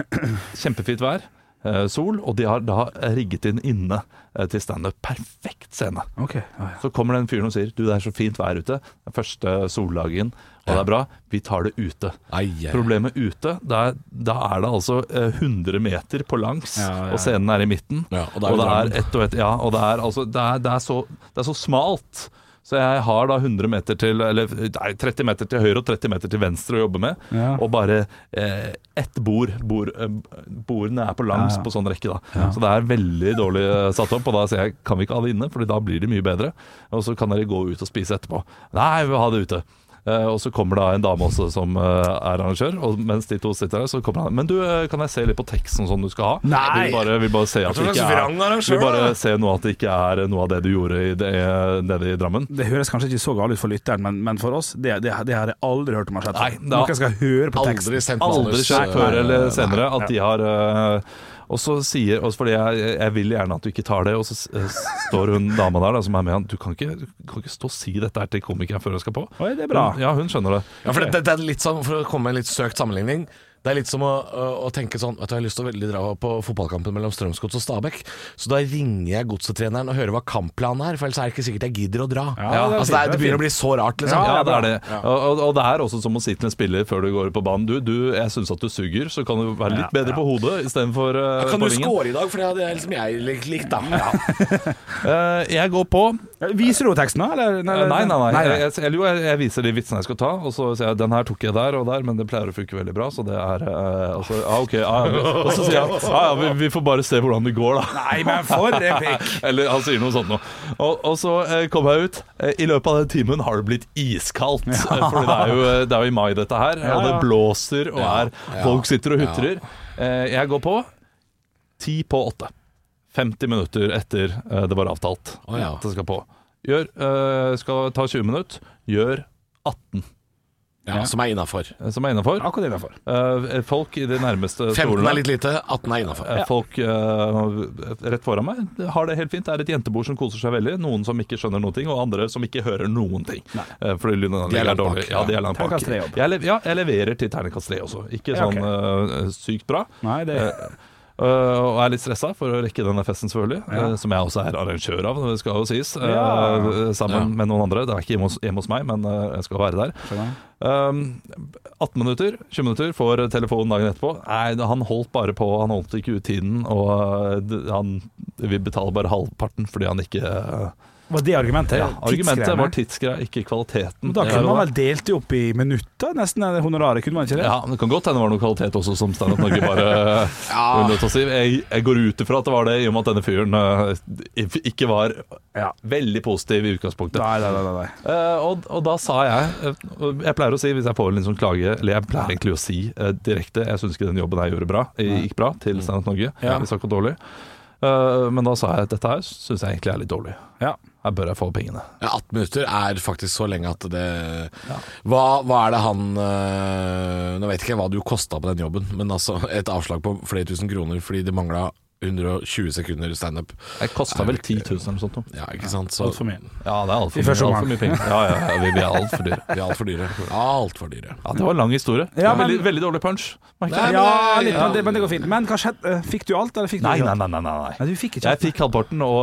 Speaker 4: Kjempefint vær. eh, Sol, og de har da rigget inn inne eh, til standup. Perfekt scene.
Speaker 5: Ok. Ja, ja.
Speaker 4: Så kommer den fyren og sier Du, det er så fint vær ute. Det er første soldagen, og det er bra. Vi tar det ute.
Speaker 3: Ai, ai, ai.
Speaker 4: Problemet ute, det er, da er det altså eh, 100 meter på langs,
Speaker 5: Ja, ja.
Speaker 4: og scenen er i midten.
Speaker 3: Ja, og det
Speaker 4: og det
Speaker 3: er
Speaker 4: er,
Speaker 3: jo Drammen.
Speaker 4: ett og ett Ja, og det er, altså, det, er, det, er så, det er så smalt. Så jeg har da 100 meter til Eller nei, 30 meter til høyre og 30 meter til venstre å jobbe med.
Speaker 5: Ja.
Speaker 4: Og bare eh, ett bord. bord eh, bordene er på langs
Speaker 5: Ja, ja.
Speaker 4: på sånn rekke, da. Så det er veldig dårlig eh, satt opp. Og da sier jeg kan vi ikke ha det inne, Fordi da blir det mye bedre. Og så kan dere gå ut og spise etterpå. Nei, vi vil ha det ute. Eh, og så kommer det en dame også som eh, er arrangør, og mens de to sitter der, så kommer han Men du, eh, kan jeg se litt på teksten sånn du skal ha?
Speaker 5: Nei!
Speaker 4: Vi bare, vi bare se at
Speaker 3: tror
Speaker 4: det
Speaker 3: det er
Speaker 4: ikke
Speaker 3: så vrang
Speaker 4: er
Speaker 3: arrangør,
Speaker 4: Vi bare
Speaker 3: da.
Speaker 4: se nå at det ikke er noe av det du gjorde i det, nede i Drammen.
Speaker 5: Det høres kanskje ikke så galt ut for lytteren, men, men for oss det, det, det har jeg aldri hørt om har skjedd.
Speaker 4: Nei, det har-
Speaker 5: Noen skal høre på teksten.
Speaker 3: Aldri sendt
Speaker 4: Aldri
Speaker 3: manus,
Speaker 4: skjedd
Speaker 3: eh,
Speaker 4: før eller
Speaker 3: nei.
Speaker 4: senere at de har eh, Og så sier også fordi jeg, jeg vil gjerne at du ikke tar det, og så s- eh, står hun dama der da, som er med han Du kan ikke, du kan ikke stå og si dette her til komikeren før hun skal på.
Speaker 5: Oi, det er bra.
Speaker 4: Ja, hun skjønner det.
Speaker 3: Ja, for det, det, det er litt sånn, for å komme med en litt søkt sammenligning Det er litt som å, å, å tenke sånn Vet du, jeg har lyst til å veldig dra på fotballkampen mellom Strømsgods og Stabæk Så da ringer jeg godsetreneren og hører hva kampplanen er For ellers er det ikke sikkert jeg gidder å dra
Speaker 5: Ja, det
Speaker 3: Altså
Speaker 5: er
Speaker 3: det,
Speaker 5: fint,
Speaker 3: er,
Speaker 5: det
Speaker 3: det
Speaker 5: er
Speaker 3: begynner å bli så rart liksom
Speaker 4: Ja, det er det. Og, og- og det er også som å si til en spiller før du går på banen Du, du jeg syns at du suger, så kan du være litt bedre på hodet istedenfor uh,
Speaker 3: Kan
Speaker 4: på
Speaker 3: du
Speaker 4: vingen.
Speaker 3: score i dag, for det hadde jeg liksom jeg lik- likt da ja.
Speaker 4: Eh, jeg går på.
Speaker 5: Ja, Viser du teksten, da? Eller?
Speaker 4: Nei, Eh, nei, nei. Jeg, jeg, eller jo, jeg, jeg viser de vitsene jeg skal ta, og så sier jeg den her tok jeg der og der, men det pleier å funke veldig bra, så det er eh, altså, Ja, OK. Ja, ja. Og så sier jeg ja, ja, vi, vi får bare se hvordan det går, da.
Speaker 5: Nei, men for en pikk!
Speaker 4: Eller han sier noe sånt noe. Og, og så eh, kom jeg ut. Eh, I løpet av den timen har det blitt iskaldt. Ja. Fordi det er, jo, eh, det er jo i mai, dette her. Og det blåser, og er, folk sitter og hutrer. Eh, jeg går på ti på åtte. 50 minutter etter eh, det var avtalt
Speaker 3: Å, ja.
Speaker 4: at det skal på. Gjør, eh, skal ta 20 minutter. Gjør 18,
Speaker 3: ja, som er innenfor
Speaker 4: eh, som er innafor. Eh,
Speaker 5: Akkurat innafor.
Speaker 4: folk i de nærmeste
Speaker 3: 15 er litt lite, 18 er innenfor
Speaker 4: Eh, Folk eh, rett foran meg har det helt fint. Det er et jentebord som koser seg veldig. Noen som ikke skjønner noen ting, og andre som ikke hører noen ting. Eh,
Speaker 3: De er
Speaker 4: fordi lydanlegget er
Speaker 3: langt bak,
Speaker 4: dårlig. Ja,
Speaker 3: ja.
Speaker 4: de er langt bak.
Speaker 5: Terningkast tre jobb.
Speaker 4: Jeg, lev- ja, jeg leverer til terningkast tre også. Ikke
Speaker 5: Ja,
Speaker 4: sånn eh, sykt bra.
Speaker 5: Nei, det
Speaker 4: Eh, og er litt stressa for å rekke denne festen, selvfølgelig. eh, som jeg også er arrangør av, det skal jo sies. eh,
Speaker 5: Ja.
Speaker 4: sammen
Speaker 3: Ja.
Speaker 4: med noen andre. Det er ikke hjemme hos, hjemme hos meg, men eh, jeg skal være der.
Speaker 5: Skjønner.
Speaker 4: Um, 18 minutter, 20 minutter, får telefonen dagen etterpå. Nei, han holdt bare på, han holdt ikke ut tiden, og uh, d- han, vi betaler bare halvparten fordi han ikke uh,
Speaker 5: Var det argumentet?
Speaker 4: ja, Argumentet
Speaker 5: Tidsgreiene?
Speaker 4: var tidsgreia, ikke kvaliteten.
Speaker 5: Da
Speaker 4: Ja,
Speaker 5: kunne man vel delt det opp i minutter, nesten det honoraret, kunne man ikke det?
Speaker 4: ja, men Det kan godt hende det var noe kvalitet også, som Standup Norge bare
Speaker 3: Ja.
Speaker 4: unnlot å si. Jeg, jeg går ut ifra at det var det, i og med at denne fyren uh, ikke var
Speaker 5: Ja.
Speaker 4: veldig positiv i utgangspunktet.
Speaker 5: Nei, nei, nei, nei.
Speaker 4: Eh, og, og da sa jeg eh, og Jeg pleier å si, hvis jeg får en litt sånn klage Eller jeg pleier egentlig å si eh, direkte Jeg syns ikke den jobben jeg gjorde bra, eh, gikk bra til Standup Norge.
Speaker 5: Ja.
Speaker 4: Jeg sa ikke dårlig. Eh, men da sa jeg at dette her syns jeg egentlig er litt dårlig.
Speaker 5: Ja.
Speaker 4: Her bør jeg få pengene.
Speaker 3: Ja, 18 minutter er faktisk så lenge at det hva, hva er det han øh, Nå vet ikke jeg hva du kosta på den jobben, men altså et avslag på flere tusen kroner fordi det mangla 120 sekunder standup.
Speaker 4: Jeg kosta vel 10 000 eller noe sånt. nå.
Speaker 3: Ja, ikke sant? Så
Speaker 5: for mye.
Speaker 4: Ja, det er altfor
Speaker 5: I
Speaker 4: mye,
Speaker 5: første
Speaker 4: alt
Speaker 5: omgang.
Speaker 4: for mye penger. Ja, ja, ja, vi, vi er altfor dyre.
Speaker 3: vi er altfor dyre. Altfor dyre.
Speaker 4: Ja, det var en lang historie.
Speaker 5: Ja, men-
Speaker 4: veldig, veldig dårlig punch. merker jeg.
Speaker 3: Nei,
Speaker 5: Ja, litt,
Speaker 3: Ja.
Speaker 5: men, det, men det går fint. Men hva skjedde? Eh, Fikk du alt, eller fikk du
Speaker 4: Nei,
Speaker 5: ikke
Speaker 4: nei,
Speaker 5: alt?
Speaker 4: nei. nei, nei, nei.
Speaker 5: Nei, du fikk ikke
Speaker 4: Jeg
Speaker 5: alt.
Speaker 4: fikk halvparten, og,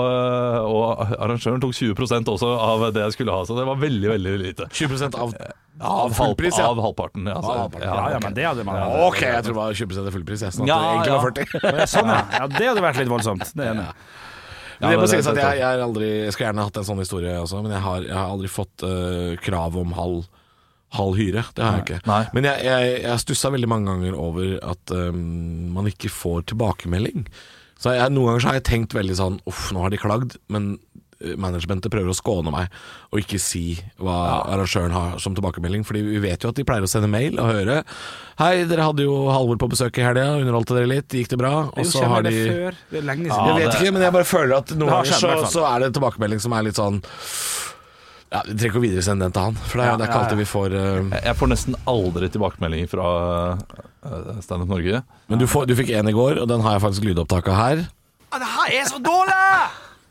Speaker 4: og arrangøren tok 20 også av det jeg skulle ha, så det var veldig, veldig lite.
Speaker 3: 20 av,
Speaker 4: Eh,
Speaker 3: av
Speaker 4: Av, halv,
Speaker 3: fullpris, ja.
Speaker 4: av halvparten. Ja, altså.
Speaker 3: Av halvparten,
Speaker 4: Ja,
Speaker 5: Ja,
Speaker 4: ja,
Speaker 5: ja, men det hadde man
Speaker 3: Ok, jeg tror det var 20 av fullpris, jeg. Sånn at
Speaker 4: Ja,
Speaker 3: det egentlig var
Speaker 4: ja.
Speaker 3: 40.
Speaker 5: Sånn, ja. ja. Det hadde vært litt voldsomt. Det er enig.
Speaker 3: Men det
Speaker 4: men
Speaker 3: må
Speaker 4: det-
Speaker 3: sies at
Speaker 4: det-
Speaker 3: jeg, jeg, er aldri, jeg skulle gjerne hatt en sånn historie også, men jeg har, jeg har aldri fått eh, krav om halv, halv hyre. Det har jeg ikke.
Speaker 4: Nei.
Speaker 3: Men jeg, jeg, jeg stussa veldig mange ganger over at ehm, man ikke får tilbakemelding. Så jeg, Noen ganger så har jeg tenkt veldig sånn Uff, nå har de klagd, men eh, managementet prøver å skåne meg og ikke si hva arrangøren har som tilbakemelding. Fordi vi vet jo at de pleier å sende mail og høre Hei, dere hadde jo Halvor på besøk i helga, underholdte dere litt, gikk det bra?
Speaker 5: Jo,
Speaker 3: Og så
Speaker 5: kjenner
Speaker 3: har de
Speaker 5: det før. Ah, Det er lenge siden.
Speaker 3: jeg vet
Speaker 4: det-
Speaker 3: ikke, men jeg bare føler at noen
Speaker 5: Det har
Speaker 3: ganger
Speaker 5: skjedd, i
Speaker 3: så,
Speaker 5: hvert fall.
Speaker 3: så er det en tilbakemelding som er litt sånn ja, Vi trenger ikke å videresende den til han, for det er, det er ikke
Speaker 5: ja, ja.
Speaker 3: alltid vi får eh,
Speaker 4: Jeg får nesten aldri tilbakemeldinger fra eh, Standup Norge.
Speaker 3: Men du, får, du fikk en i går, og den har jeg faktisk lydopptak av her.
Speaker 6: Det her er så dårlig!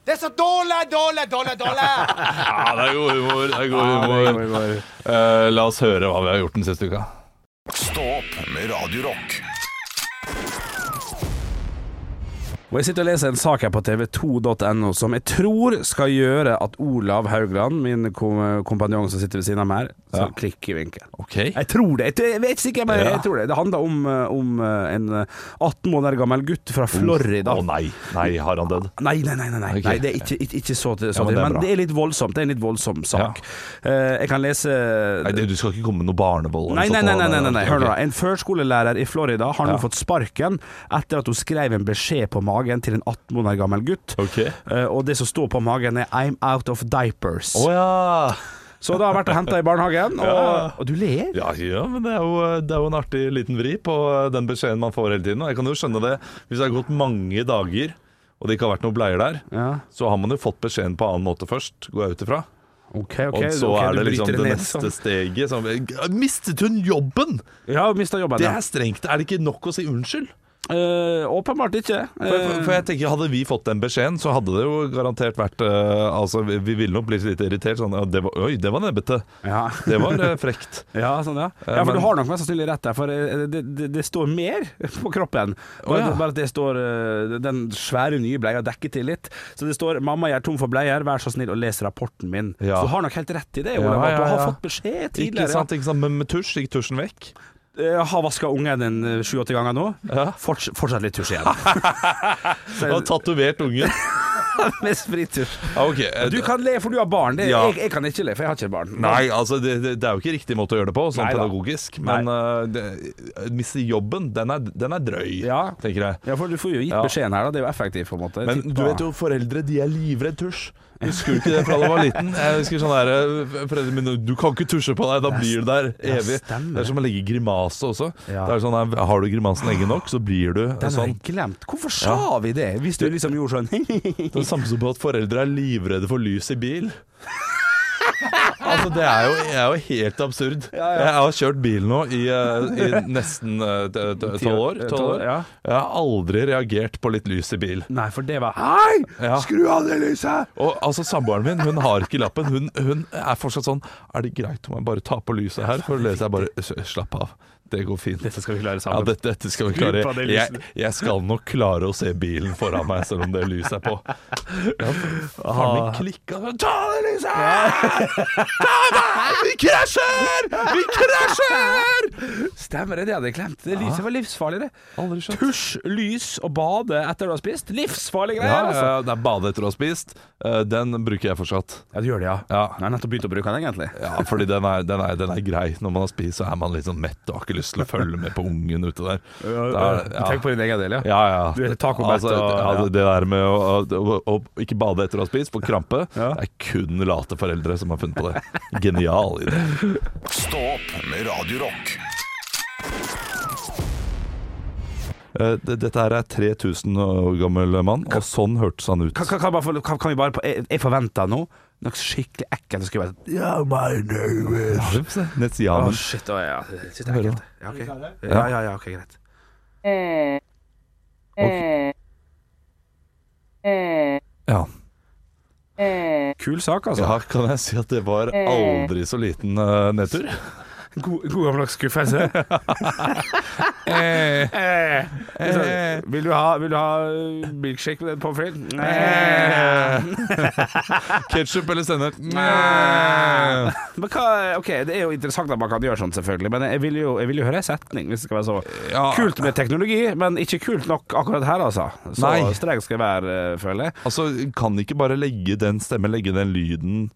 Speaker 6: Det er så dårlig, dårlig, dårlig, dårlig!
Speaker 4: Ja, det er god humor. Det er god humor. Eh, la oss høre hva vi har gjort den siste uka.
Speaker 1: Stå opp med Radio Rock.
Speaker 5: Og jeg sitter og leser en sak her på tv2.no som jeg tror skal gjøre at Olav Haugland, min kom kompanjong som sitter ved siden av meg her, skal klikke i vinkel.
Speaker 4: Ok
Speaker 5: Jeg tror det. Jeg, jeg vet ikke, men
Speaker 4: Ja.
Speaker 5: jeg tror det. Det handler om, eh, om eh, en eh, 18 måneder gammel gutt fra Florida.
Speaker 4: Å nei. Nei, har han dødd?
Speaker 5: Nei, nei, nei, nei, nei.
Speaker 4: Ok.
Speaker 5: nei det er ikke, ikke, ikke så, så
Speaker 4: Ja, men det
Speaker 5: men,
Speaker 4: er
Speaker 5: det men
Speaker 4: bra.
Speaker 5: det er litt voldsomt. Det er en litt voldsom sak. Eh, jeg kan lese
Speaker 4: Nei, det, Du skal ikke komme med noe barnevold? eller
Speaker 5: Nei, nei,
Speaker 4: sånt
Speaker 5: nei,
Speaker 4: nå,
Speaker 5: nei, nei, nei,
Speaker 4: ok.
Speaker 5: Hør nå, da. En førskolelærer i Florida har nå
Speaker 4: Ja.
Speaker 5: fått sparken etter at hun skrev en beskjed på magen til en 18 måneder gammel gutt.
Speaker 4: Ok.
Speaker 5: Eh, og det som står på magen er 'I'm out of diapers'.
Speaker 4: Å ja.
Speaker 5: Så da har jeg vært og henta i barnehagen, og, og du ler.
Speaker 4: Ja, ja, men det er, jo, det er jo en artig liten vri på den beskjeden man får hele tiden. Og jeg kan jo skjønne det hvis det har gått mange dager og det ikke har vært noen bleier der,
Speaker 5: Ja.
Speaker 4: så har man jo fått beskjeden på annen måte først, går jeg ut ifra.
Speaker 5: Ok, ok,
Speaker 4: og så
Speaker 5: ok,
Speaker 4: er
Speaker 5: du
Speaker 4: det liksom
Speaker 5: bryter
Speaker 4: det
Speaker 5: ned,
Speaker 4: neste
Speaker 5: sånn.
Speaker 4: steget som Mistet hun jobben?!
Speaker 5: Ja, mista jobben.
Speaker 4: Det
Speaker 5: Ja.
Speaker 4: er strengt. Er det ikke nok å si unnskyld?
Speaker 5: Eh, åpenbart ikke.
Speaker 4: For, for,
Speaker 5: Eh.
Speaker 4: for jeg tenker, Hadde vi fått den beskjeden, så hadde det jo garantert vært eh, Altså, vi, vi ville nok blitt litt irritert. Sånn, ja, det var, Oi, det var nebbete.
Speaker 5: Ja.
Speaker 4: Det var eh, frekt.
Speaker 5: Ja, sånn, ja. ja, for
Speaker 4: Eh, men-
Speaker 5: du har nok mest sannsynlig rett der, for eh, det, det, det står mer på kroppen. Bare,
Speaker 4: Å, ja.
Speaker 5: bare at det står eh, Den svære nye bleia dekker til litt. Så det står 'Mamma, jeg er tom for bleier, vær så snill å lese rapporten min'.
Speaker 4: Ja.
Speaker 5: Så du har nok helt rett i det,
Speaker 4: Ja,
Speaker 5: Olav. at
Speaker 4: ja,
Speaker 5: Du har
Speaker 4: ja.
Speaker 5: fått beskjed
Speaker 4: Ikke
Speaker 5: tidligere.
Speaker 4: sant, ikke sant? Men med tusj gikk tusjen vekk.
Speaker 5: Jeg har vaska ungen en eh, sju-åtte ganger nå.
Speaker 4: Ja.
Speaker 5: Forts fortsatt litt tusj igjen.
Speaker 4: Jeg
Speaker 5: Eh,
Speaker 4: har tatovert ungen.
Speaker 5: Mest fritusj.
Speaker 4: Ja, ok. eh,
Speaker 5: Du kan le, for du har barn. Det,
Speaker 4: Ja.
Speaker 5: jeg, jeg kan ikke le, for jeg har ikke barn.
Speaker 4: Nei, altså det, det, det er jo ikke riktig måte å gjøre det på, sånn
Speaker 5: Nei da.
Speaker 4: pedagogisk. Men eh, det- miste jobben, den er, den er drøy,
Speaker 5: Ja.
Speaker 4: tenker jeg.
Speaker 5: Ja, for du får jo gitt
Speaker 4: Ja.
Speaker 5: beskjeden her, da. Det er jo effektivt, på en måte.
Speaker 4: Men
Speaker 5: Tippa-
Speaker 4: du vet jo, foreldre de er livredd tusj. Husker du ikke det fra da du var liten? Jeg husker sånn her, eh, Foreldrene mine Du kan ikke tusje på deg, da blir du der
Speaker 5: Ja,
Speaker 4: evig.
Speaker 5: stemmer.
Speaker 4: Det er som å legge grimase også.
Speaker 5: Ja.
Speaker 4: Det er sånn her, Har du grimasen lenge nok, så blir du
Speaker 5: Den har
Speaker 4: sånn.
Speaker 5: jeg glemt. Hvorfor sa vi det? Hvis du liksom gjorde sånn
Speaker 4: Det er det samme som på at foreldre er livredde for lys i bil. altså, det er jo, er jo helt absurd. Jeg har kjørt bil nå i, eh, i nesten eh, tolv år. 12 år.
Speaker 5: Ja.
Speaker 4: Jeg har aldri reagert på litt lys i bil.
Speaker 5: Nei, for det var Hei!
Speaker 4: Ja.
Speaker 5: Skru av det lyset!
Speaker 4: Og altså, Samboeren min hun har ikke lappen. Hun, hun er fortsatt sånn Er det greit om jeg bare tar på lyset her? For å lese jeg bare «S- Slapp av. Det går fint.
Speaker 5: Dette skal vi
Speaker 4: Ja,
Speaker 5: klare sammen.
Speaker 4: dette, dette skal vi
Speaker 5: Skru
Speaker 4: klare.
Speaker 5: på det lyset.
Speaker 4: Jeg, jeg skal nok klare å se bilen foran meg, selv om det lyset er på. Ja, faren
Speaker 5: Ah.
Speaker 4: min klikka Ta det lyset! Ta meg! Vi krasjer! Vi krasjer!
Speaker 5: Stemmer det, det hadde jeg glemt. Det lyset var livsfarlig, det.
Speaker 4: Aldri skjønt.
Speaker 5: Tusj, lys og bade etter du har spist. Livsfarlige
Speaker 4: Ja,
Speaker 5: greier,
Speaker 4: ja,
Speaker 5: altså.
Speaker 4: ja, det er bade etter å ha spist. Eh, Den bruker jeg fortsatt.
Speaker 5: Ja, du gjør det, ja.
Speaker 4: Ja.
Speaker 5: Nei, nettopp begynt å bruke den, egentlig.
Speaker 4: Ja, fordi den er, den, er, den er grei. Når man har spist, så er man litt sånn mett og har ikke lyst til å følge med på ungen ute der. Da er-
Speaker 5: Tenk på din egen del, ja.
Speaker 4: Ja, ja.
Speaker 5: Du vet, tacobett
Speaker 4: altså,
Speaker 5: og-
Speaker 4: ja,
Speaker 5: ja.
Speaker 4: Det der med å, å, å, å ikke bade etter å ha spist, få krampe,
Speaker 5: Ja.
Speaker 4: det er kun late foreldre som har funnet på det. Genial idé.
Speaker 1: Stå opp med Radio Rock.
Speaker 4: Eh, det- Dette her er 3000 år gammel mann, og sånn hørtes han ut.
Speaker 5: Kan, kan, kan, bare få- kan, kan vi bare på, Jeg, jeg forventer nå noe skikkelig ekkelt. Så skal jeg bare Yeah, my name is Å,
Speaker 4: Netsiamen.
Speaker 5: shit. Å, ja. Jeg synes det er ekkelt. Ja, ok. ja, ja, ja, ok, greit.
Speaker 4: Ja.
Speaker 5: Kul sak, altså.
Speaker 4: ja, kan jeg si at det var aldri så liten eh, nedtur.
Speaker 5: God, god gammeldags skuffelse. eh, eh, eh, vil, du ha, vil du ha eh, milkshake med pommes frites? Eh.
Speaker 4: Ketsjup eller sennep?
Speaker 5: Men hva, ok, Det er jo interessant at man kan gjøre sånn, selvfølgelig. Men jeg vil jo, jeg vil jo høre en setning. Hvis det skal være så
Speaker 4: Ja.
Speaker 5: Kult med teknologi, men ikke kult nok akkurat her, altså. Så
Speaker 4: Nei.
Speaker 5: streng skal jeg være, eh, føler jeg.
Speaker 4: Altså, kan de ikke bare legge den stemmen, legge den lyden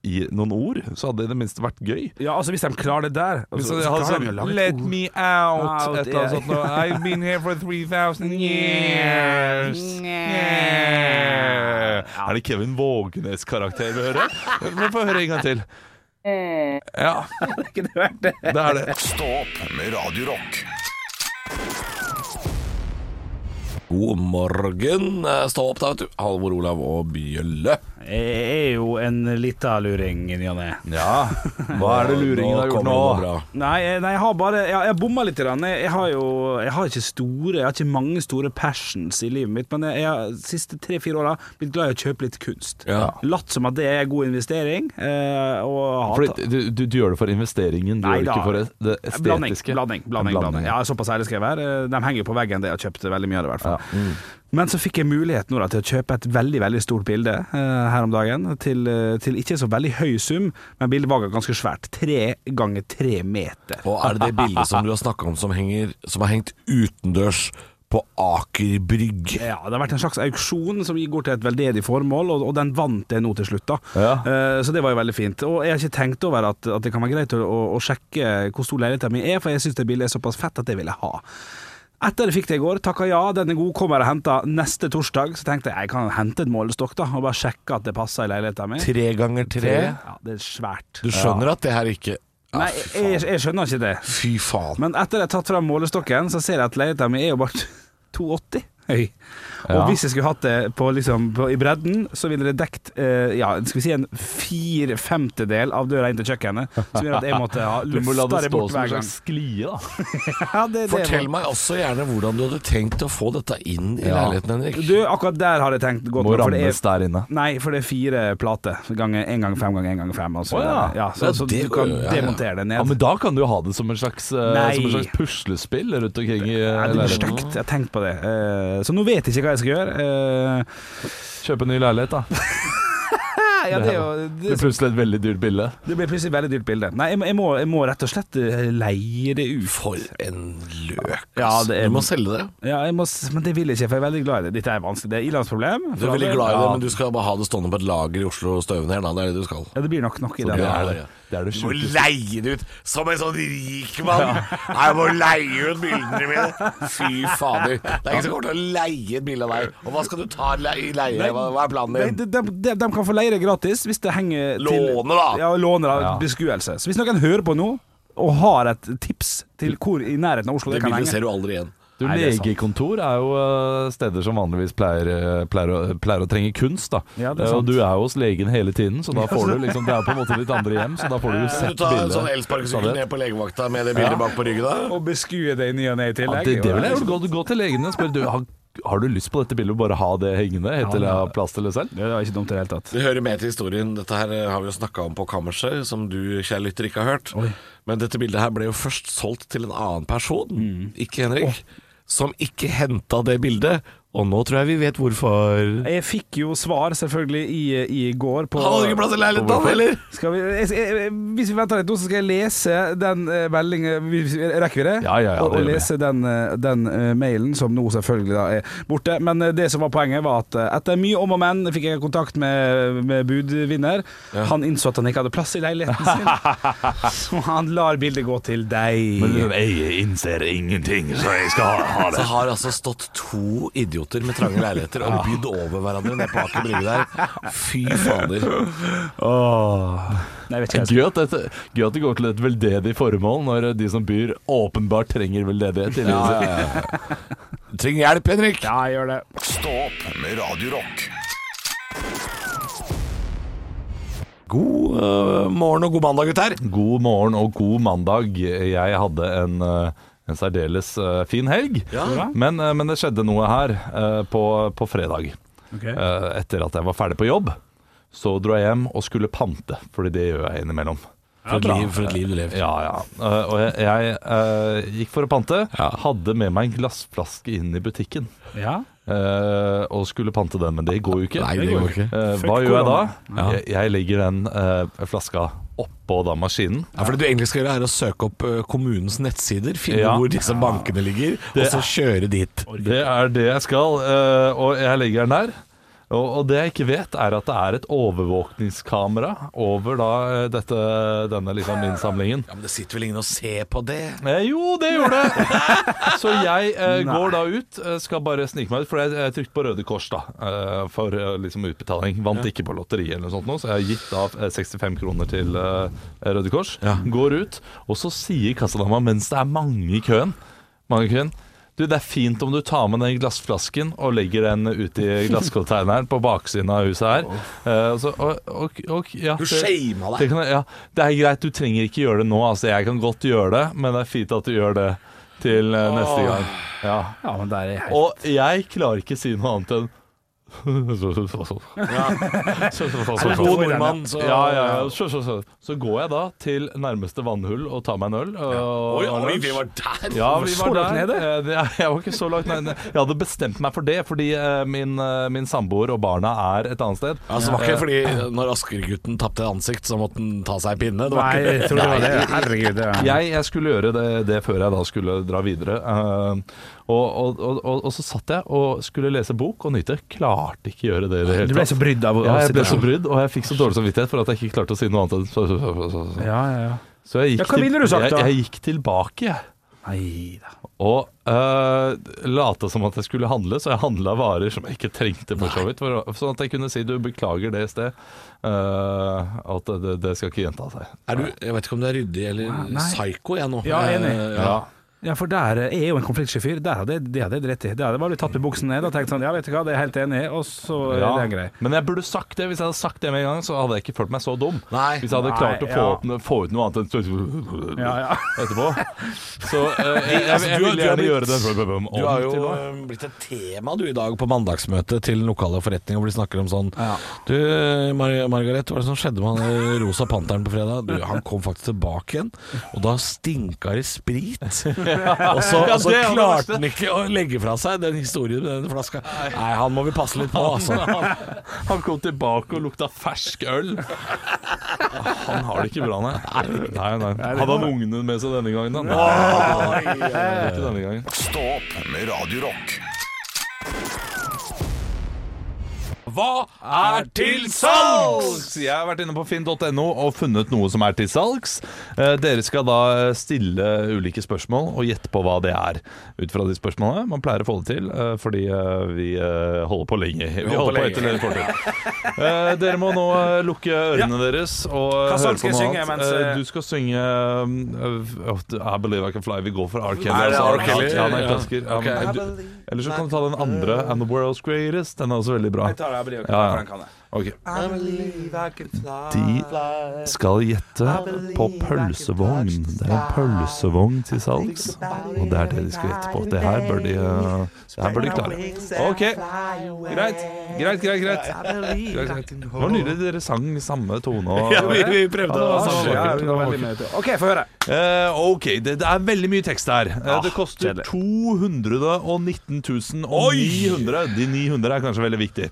Speaker 4: i noen ord? Så hadde det i det minste vært gøy.
Speaker 5: Ja, altså Hvis de klarer det der
Speaker 4: Hvis
Speaker 5: altså,
Speaker 4: det
Speaker 5: så
Speaker 4: hadde
Speaker 5: klarer de
Speaker 4: sånn,
Speaker 5: jo å lage et
Speaker 4: Let
Speaker 5: ord.
Speaker 4: me out,
Speaker 5: Out,
Speaker 4: et eller annet
Speaker 5: ja.
Speaker 4: sånt noe. I've been here for 3000 years. Yeah. Eh, Er det Kevin Vågenes-karakter vi hører? Vi får høre en gang til. Ja,
Speaker 5: Kunne vært det.
Speaker 4: det er det.
Speaker 1: Stå opp med Radio Rock.
Speaker 3: God morgen. Eh, Stå opp, da, vet du. Halvor Olav og Bjølle.
Speaker 7: Jeg er jo en lita luring i ny og ne.
Speaker 4: Ja, Hva er det luringen har gjort
Speaker 3: Eh,
Speaker 4: nå?
Speaker 3: kommer det noe bra.
Speaker 5: Nei, eh, nei, jeg har bare Jeg, jeg bomma litt. grann. Jeg, jeg har jo Jeg har ikke store Jeg har ikke mange store passions i livet mitt, men jeg, jeg har de siste tre-fire åra blitt glad i å kjøpe litt kunst.
Speaker 3: Ja.
Speaker 5: Latt som at det er god investering. Eh, og har tatt-
Speaker 4: Fordi du, du, du gjør det for investeringen, du gjør det
Speaker 5: Neida.
Speaker 4: ikke for det- det
Speaker 5: Blanding,
Speaker 4: estetiske.
Speaker 5: blanding, blanding, blanding. Ja, såpass ærlig skal jeg være. Eh, De henger jo på veggen, det jeg har kjøpt veldig mye av det, i hvert fall. Men så fikk jeg mulighet nå da, til å kjøpe et veldig veldig stort bilde eh, her om dagen, til, eh, til ikke så veldig høy sum, men bildet var ganske svært. Tre ganger tre meter.
Speaker 3: Og er det det bildet som du har snakka om som, henger, som har hengt utendørs på Aker Brygge?
Speaker 5: Ja, det har vært en slags auksjon som går til et veldedig formål, og, og den vant jeg nå til slutt, da. Eh, så det var jo veldig fint. Og jeg har ikke tenkt over at, at det kan være greit å, å, å sjekke hvor stor leiligheten min er, for jeg syns det bildet er såpass fett at det vil jeg ha. Etter jeg fikk det i går, takka ja, den er god, kommer og henter neste torsdag. Så tenkte jeg jeg kan hente en målestokk da, og bare sjekke at det passer i leiligheten min.
Speaker 3: Tre ganger tre.
Speaker 5: Ja, det er svært.
Speaker 3: Du skjønner at det her ikke
Speaker 5: Nei, jeg, jeg skjønner ikke det.
Speaker 3: Fy faen.
Speaker 5: Men etter jeg har tatt frem målestokken, så ser jeg at leiligheten min er jo bare 280 høy. Og
Speaker 4: Ja.
Speaker 5: hvis jeg skulle hatt det på, liksom, på, i bredden, så ville det dekt eh, ja, skal vi si en fire femtedel av døra inn til kjøkkenet. Som gjør at jeg måtte ha
Speaker 4: Du må la
Speaker 5: lufta
Speaker 4: det
Speaker 5: det
Speaker 4: stå
Speaker 5: bort
Speaker 4: som en
Speaker 5: hver gang.
Speaker 4: slags sklie, da.
Speaker 5: Ja, det, det var-
Speaker 3: Fortell meg også gjerne hvordan du hadde tenkt å få dette inn i
Speaker 4: Ja.
Speaker 3: leiligheten, Henrik.
Speaker 5: Du, akkurat der har jeg tenkt godt
Speaker 4: Må
Speaker 5: nå, for det er-
Speaker 4: rammes der inne.
Speaker 5: Nei, for det er fire plater. Ganger én gang fem ganger én gang fem. Altså.
Speaker 4: Å, ja.
Speaker 5: så,
Speaker 3: Ja,
Speaker 5: så
Speaker 3: det-
Speaker 5: du kan
Speaker 3: ja, ja.
Speaker 5: demontere det ned.
Speaker 4: Ja, men da kan du jo ha det som en slags, eh,
Speaker 5: Nei.
Speaker 4: som en slags puslespill rundt omkring i eh,
Speaker 5: Nei, det blir
Speaker 4: leiligheten.
Speaker 5: stygt. Jeg har tenkt på det. Eh, så nå vet jeg ikke hva jeg skal gjøre. Eh,
Speaker 4: Kjøpe en ny leilighet, da.
Speaker 5: ja, det, er jo,
Speaker 4: Det
Speaker 5: det,
Speaker 4: blir plutselig et veldig dyrt bilde.
Speaker 5: det blir plutselig et veldig dyrt bilde. Nei, jeg, må- jeg, må, jeg må rett og slett eh, leie det ut.
Speaker 3: For en løk.
Speaker 5: Ja,
Speaker 3: ass.
Speaker 5: det er-
Speaker 3: Du må selge det.
Speaker 5: Ja, jeg må, s- men det vil jeg ikke, for jeg er veldig glad i det. Dette er vanskelig. Det er Ilans problem.
Speaker 3: Du er veldig glad i det, men du skal bare ha det stående på et lager i Oslo og støvende her, da. Det er det du skal.
Speaker 5: Ja, det blir nok nok i den.
Speaker 3: det
Speaker 5: Ja.
Speaker 3: er det.
Speaker 4: Det er det
Speaker 3: Du må
Speaker 4: sjukeste.
Speaker 3: leie det ut som en sånn rik mann. Jeg må leie ut bildene mine. Fy fader. Det er ingen som kommer til å leie et bilde av deg. Og hva skal du ta le- i leie? Hva, hva er
Speaker 5: Nei,
Speaker 3: planen
Speaker 5: de,
Speaker 3: din?
Speaker 5: de, de, de kan få leie det gratis hvis det henger til
Speaker 3: Låne, da.
Speaker 5: Ja, låne da,
Speaker 4: Ja.
Speaker 5: beskuelse. Så hvis noen hører på nå og har et tips til hvor i nærheten av Oslo
Speaker 3: Det
Speaker 5: det, kan
Speaker 3: bildet
Speaker 5: henge
Speaker 3: ser du aldri igjen.
Speaker 4: Du,
Speaker 5: Nei, det er sant.
Speaker 4: legekontor er jo eh, steder som vanligvis pleier, eh, pleier, å, pleier å trenge kunst, da.
Speaker 5: Ja, det er
Speaker 4: Eh,
Speaker 5: sant.
Speaker 4: Og du er jo hos legen hele tiden, så da får du liksom Det er på en måte ditt andre hjem, så da får du
Speaker 3: Kan du
Speaker 4: jo sett
Speaker 3: ta en sånn
Speaker 4: bildet.
Speaker 3: elsparkesykkel ned på legevakta med det bildet bak på ryggen da?
Speaker 5: Og beskue det i ny og ne i
Speaker 4: Ja,
Speaker 5: tillegg.
Speaker 4: det, det vil jeg gjøre. Gå, gå til legen og spør du, har, har du lyst på dette bildet, og bare ha det hengende helt til jeg har plass til det selv?
Speaker 5: Det var ikke dumt i det hele tatt.
Speaker 3: Det hører med til historien. Dette her eh, har vi jo snakka om på kammerset, som du, kjære lytter, ikke har hørt. Men dette bildet her ble jo først solgt til en annen person,
Speaker 4: Mm.
Speaker 3: ikke Henrik, som ikke henta det bildet. Og nå tror jeg vi vet hvorfor.
Speaker 5: Jeg fikk jo svar, selvfølgelig, i, i går på
Speaker 3: Mm. Han hadde ikke plass i leiligheten, han heller!
Speaker 5: skal vi, jeg, jeg, Hvis vi venter litt nå, så skal jeg lese den eh, meldingen hvis vi- Rekker vi det?
Speaker 4: Ja, ja, ja,
Speaker 5: og,
Speaker 4: det
Speaker 5: og
Speaker 4: gjør vi.
Speaker 5: lese den, eh, den eh, mailen, som nå selvfølgelig da er borte. Men eh, det som var poenget, var at eh, etter mye om og men fikk jeg kontakt med, med budvinner. Han innså at han ikke hadde plass i leiligheten sin, så han lar bildet gå til deg.
Speaker 4: jeg innser ingenting, så jeg skal ha, ha
Speaker 3: Så har altså stått to idioter med trange leiligheter og bydd over hverandre ned på Aker Brygge der. Fy fader.
Speaker 5: Nei, jeg vet ikke hva jeg skal-
Speaker 4: Gøy at, dette, gøy at det går til et veldedig formål når de som byr åpenbart trenger veldedighet. i livet sitt.
Speaker 3: Trenger hjelp, Henrik.
Speaker 5: Ja, jeg gjør det.
Speaker 1: Stå opp med Radio Rock.
Speaker 3: God eh, morgen og god mandag, gutter.
Speaker 4: God morgen og god mandag. Jeg hadde en, eh, en særdeles eh, fin helg. Men, eh, men det skjedde noe her eh, på, på fredag. Eh, Etter at jeg var ferdig på jobb, så dro jeg hjem og skulle pante, fordi det gjør jeg innimellom.
Speaker 3: For et liv, for et liv du lever.
Speaker 4: Ja, ja. Eh, Og jeg, jeg eh, gikk for å pante. Hadde med meg en glassflaske inn i butikken
Speaker 5: Ja.
Speaker 4: eh, og skulle pante den, men det går jo ikke.
Speaker 3: Nei, det går ikke.
Speaker 4: Eh, hva gjør jeg da? Jeg, jeg legger den eh, flaska oppå da maskinen.
Speaker 3: Ja, for Det du egentlig skal gjøre, er å søke opp eh, kommunens nettsider, finne
Speaker 4: Ja.
Speaker 3: hvor disse bankene ligger, og så kjøre dit.
Speaker 4: Det er det jeg skal, eh, og jeg legger den der. Og, og det jeg ikke vet, er at det er et overvåkningskamera over da eh, dette, denne liksom innsamlingen.
Speaker 3: Ja, Men det sitter vel ingen og ser på det?
Speaker 4: Eh, jo, det gjorde det! Så jeg eh, går da ut, eh, skal bare snike meg ut, for jeg, jeg trykte på Røde Kors da, eh, for eh, liksom utbetaling. Vant ikke på lotteri eller noe sånt, nå, så jeg har gitt da eh, 65 kroner til eh, Røde Kors. Går ut, og så sier kassadama, mens det er mange i køen, mange i køen du, det er fint om du tar med den glassflasken og legger den ute i glasskonteineren på baksiden av huset her. Eh, og så, og, og, og, ja,
Speaker 3: Du
Speaker 4: det-
Speaker 3: shama
Speaker 4: det,
Speaker 3: deg!
Speaker 4: kan, ja, det er greit, du trenger ikke gjøre det nå. Altså, jeg kan godt gjøre det, men det er fint at du gjør det til eh, neste gang. Ja.
Speaker 5: ja, men der er jeg.
Speaker 4: Og jeg klarer ikke si noe annet enn så, så, så, så. Så, så, så, så,
Speaker 3: Er du
Speaker 4: så.
Speaker 3: god nordmann, så
Speaker 4: Ja, ja, ja. Så, så, så. så går jeg da til nærmeste vannhull og tar meg en øl. Og,
Speaker 3: Oi,
Speaker 4: og
Speaker 3: oi,
Speaker 4: lunsj.
Speaker 3: vi var der!
Speaker 4: Ja, vi
Speaker 5: Så
Speaker 4: var der.
Speaker 5: langt nede?
Speaker 4: Eh, det- Jeg var ikke så langt nede. Jeg hadde bestemt meg for det, fordi eh, min, eh, min samboer og barna er et annet sted.
Speaker 3: Altså, det var ikke fordi når Asker-gutten tapte ansikt, så måtte han ta seg en pinne. Det var
Speaker 5: Nei,
Speaker 3: ikke
Speaker 5: jeg tror det var det. Herregud. Det var.
Speaker 4: jeg, jeg skulle gjøre det, det før jeg da skulle dra videre. Eh, og, og, og, og, og så satt jeg og skulle lese bok og nyte. Klarte ikke gjøre det i det
Speaker 5: Du
Speaker 4: hele
Speaker 5: ble
Speaker 4: tatt.
Speaker 5: så brydd av
Speaker 4: Ja, jeg ble så
Speaker 5: situasjonen.
Speaker 4: brydd, og jeg fikk så dårlig samvittighet for at jeg ikke klarte å si noe annet enn så, så, så, så, så.
Speaker 5: Ja, ja, ja.
Speaker 4: Så jeg
Speaker 5: Ja,
Speaker 4: gikk,
Speaker 5: hva ville du sagt
Speaker 4: til,
Speaker 5: da?
Speaker 4: jeg, jeg gikk tilbake, jeg.
Speaker 5: Nei da.
Speaker 4: Og eh, late som at jeg skulle handle, så jeg handla varer som jeg ikke trengte. for så vidt for å- Sånn at jeg kunne si du beklager det i sted. eh, at det, det skal ikke gjenta seg.
Speaker 3: Er du, jeg vet ikke om du er ryddig eller
Speaker 5: Nei.
Speaker 3: psycho, jeg nå.
Speaker 5: Ja, enig.
Speaker 3: Eh, ja.
Speaker 4: Ja.
Speaker 5: Ja, for der eh, jeg er jo en konfliktsky fyr. Der hadde jeg- Det hadde jeg dritt i. Det hadde jeg bare blitt tatt med buksen ned og tenkt sånn Ja, vet du hva, det er jeg helt enig i, og så er det en grei.
Speaker 4: Men jeg burde sagt det. Hvis jeg hadde sagt det med en gang, så hadde jeg ikke følt meg så dum.
Speaker 3: Nei.
Speaker 4: Hvis jeg hadde
Speaker 5: Nei,
Speaker 4: klart å få,
Speaker 5: ja.
Speaker 4: opp, no- få ut noe annet enn
Speaker 5: Ja, ja.
Speaker 4: etterpå. Så eh, jeg, jeg,
Speaker 3: Altså,
Speaker 4: jeg
Speaker 3: du-
Speaker 4: vil
Speaker 3: du har
Speaker 4: gjerne
Speaker 3: blitt-
Speaker 4: gjøre det om
Speaker 3: Du har jo
Speaker 4: til noe.
Speaker 3: eh, blitt et tema du i dag på mandagsmøtet til lokale forretninger hvor de snakker om sånn Du, Mar Margaret, hva er det som skjedde med han eh, rosa panteren på fredag? Du, han kom faktisk tilbake igjen, og da stinka det sprit. Og så, og så
Speaker 4: det er det
Speaker 3: klarte
Speaker 4: verste.
Speaker 3: han ikke å legge fra seg den historien med den flaska. Nei, han må vi passe litt på, altså.
Speaker 4: Han, han kom tilbake og lukta fersk øl. Han har det ikke bra, nei. nei, nei. Hadde han ungene med seg denne gangen, da? Nei, ikke denne gangen.
Speaker 1: Stå opp med Radio Rock.
Speaker 4: Hva er til salgs? Jeg har vært inne på finn.no og funnet noe som er til salgs. Eh, Dere skal da stille ulike spørsmål og gjette på hva det er. Ut fra de spørsmålene. Man pleier å få det til, eh, fordi eh, vi eh, holder på lenge. Vi holder på etter dere får til. Eh, Dere må nå eh, lukke ørene deres og eh,
Speaker 5: Hva sang
Speaker 4: høre
Speaker 5: skal
Speaker 4: på
Speaker 5: jeg
Speaker 4: noe
Speaker 5: synge
Speaker 4: annet.
Speaker 5: mens,
Speaker 4: Eh,
Speaker 5: eh,
Speaker 4: Du skal synge eh, I Believe I Can Fly. Vi går for R. Kelly.
Speaker 3: Er det
Speaker 4: altså.
Speaker 3: R. Kelly?
Speaker 4: Ja, han er
Speaker 3: Ja.
Speaker 4: klassiker. Ja, men-
Speaker 3: Ok.
Speaker 4: du- Eller så kan du ta den andre, And the World's Greatest. Den er også veldig bra.
Speaker 5: tar det, jeg blir jo ikke
Speaker 4: Ja, ja.
Speaker 5: for den kan jeg.
Speaker 4: Ok. De skal gjette på pølsevogn. Det er en pølsevogn til salgs, og det er det de skal gjette på. Det her bør de, eh, det her bør de klare. OK. Greit, greit, greit. greit. greit, greit. Det var nydelig dere sang samme tone. Og,
Speaker 5: vi prøvde
Speaker 4: å-
Speaker 5: ja, vi var veldig med til. OK, få høre.
Speaker 4: Eh, ok, det, det er veldig mye tekst her. Eh,
Speaker 3: Ah,
Speaker 4: det koster
Speaker 5: kjedelig.
Speaker 4: 219 900. De 900 er kanskje veldig viktig.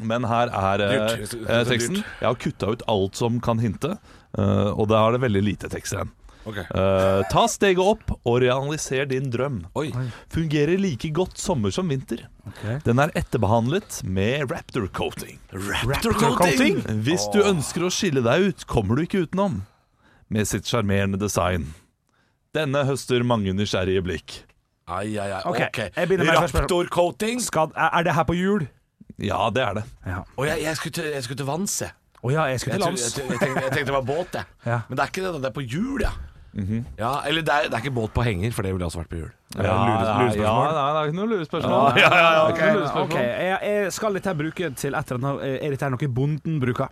Speaker 4: Men her er eh,
Speaker 3: Dyrt. Det er
Speaker 4: eh,
Speaker 3: dyrt.
Speaker 4: teksten. Jeg har kutta ut alt som kan hinte, eh, og da er det veldig lite tekst igjen.
Speaker 3: Ok.
Speaker 4: Eh, ta steget opp og realiser din drøm.
Speaker 3: Oi.
Speaker 4: Fungerer like godt sommer som vinter. Den er etterbehandlet med raptor coating.
Speaker 5: Coating?
Speaker 4: Hvis du ønsker å skille deg ut, kommer du ikke utenom. Med sitt sjarmerende design. Denne høster mange nysgjerrige blikk.
Speaker 3: Ai, ai, ai.
Speaker 5: Ok,
Speaker 3: Ok.
Speaker 5: jeg begynner med første spørsmål.
Speaker 3: Raptor-coating.
Speaker 5: Skal, er er det her på jul?
Speaker 4: Ja, det er det.
Speaker 3: Å, jeg, jeg, skulle til- jeg skulle til vanns, jeg.
Speaker 5: Å ja, jeg skulle
Speaker 3: Jeg, tror-
Speaker 5: til lands.
Speaker 3: jeg, jeg, tenkte, jeg tenkte det var båt, jeg.
Speaker 5: Ja. Mhm.
Speaker 3: Men det er ikke det, da. det er på hjul, ja. ja eller det er, det er ikke båt på henger, for det ville også vært på hjul.
Speaker 4: Ja, nei, ja, nei, det er ikke noe lurespørsmål. Ja, ja, ja,
Speaker 5: Ok,
Speaker 4: ikke noe lurespørsmål.
Speaker 5: ok, jeg, jeg skal dette her bruke til et eller annet Er dette her noe bonden bruker?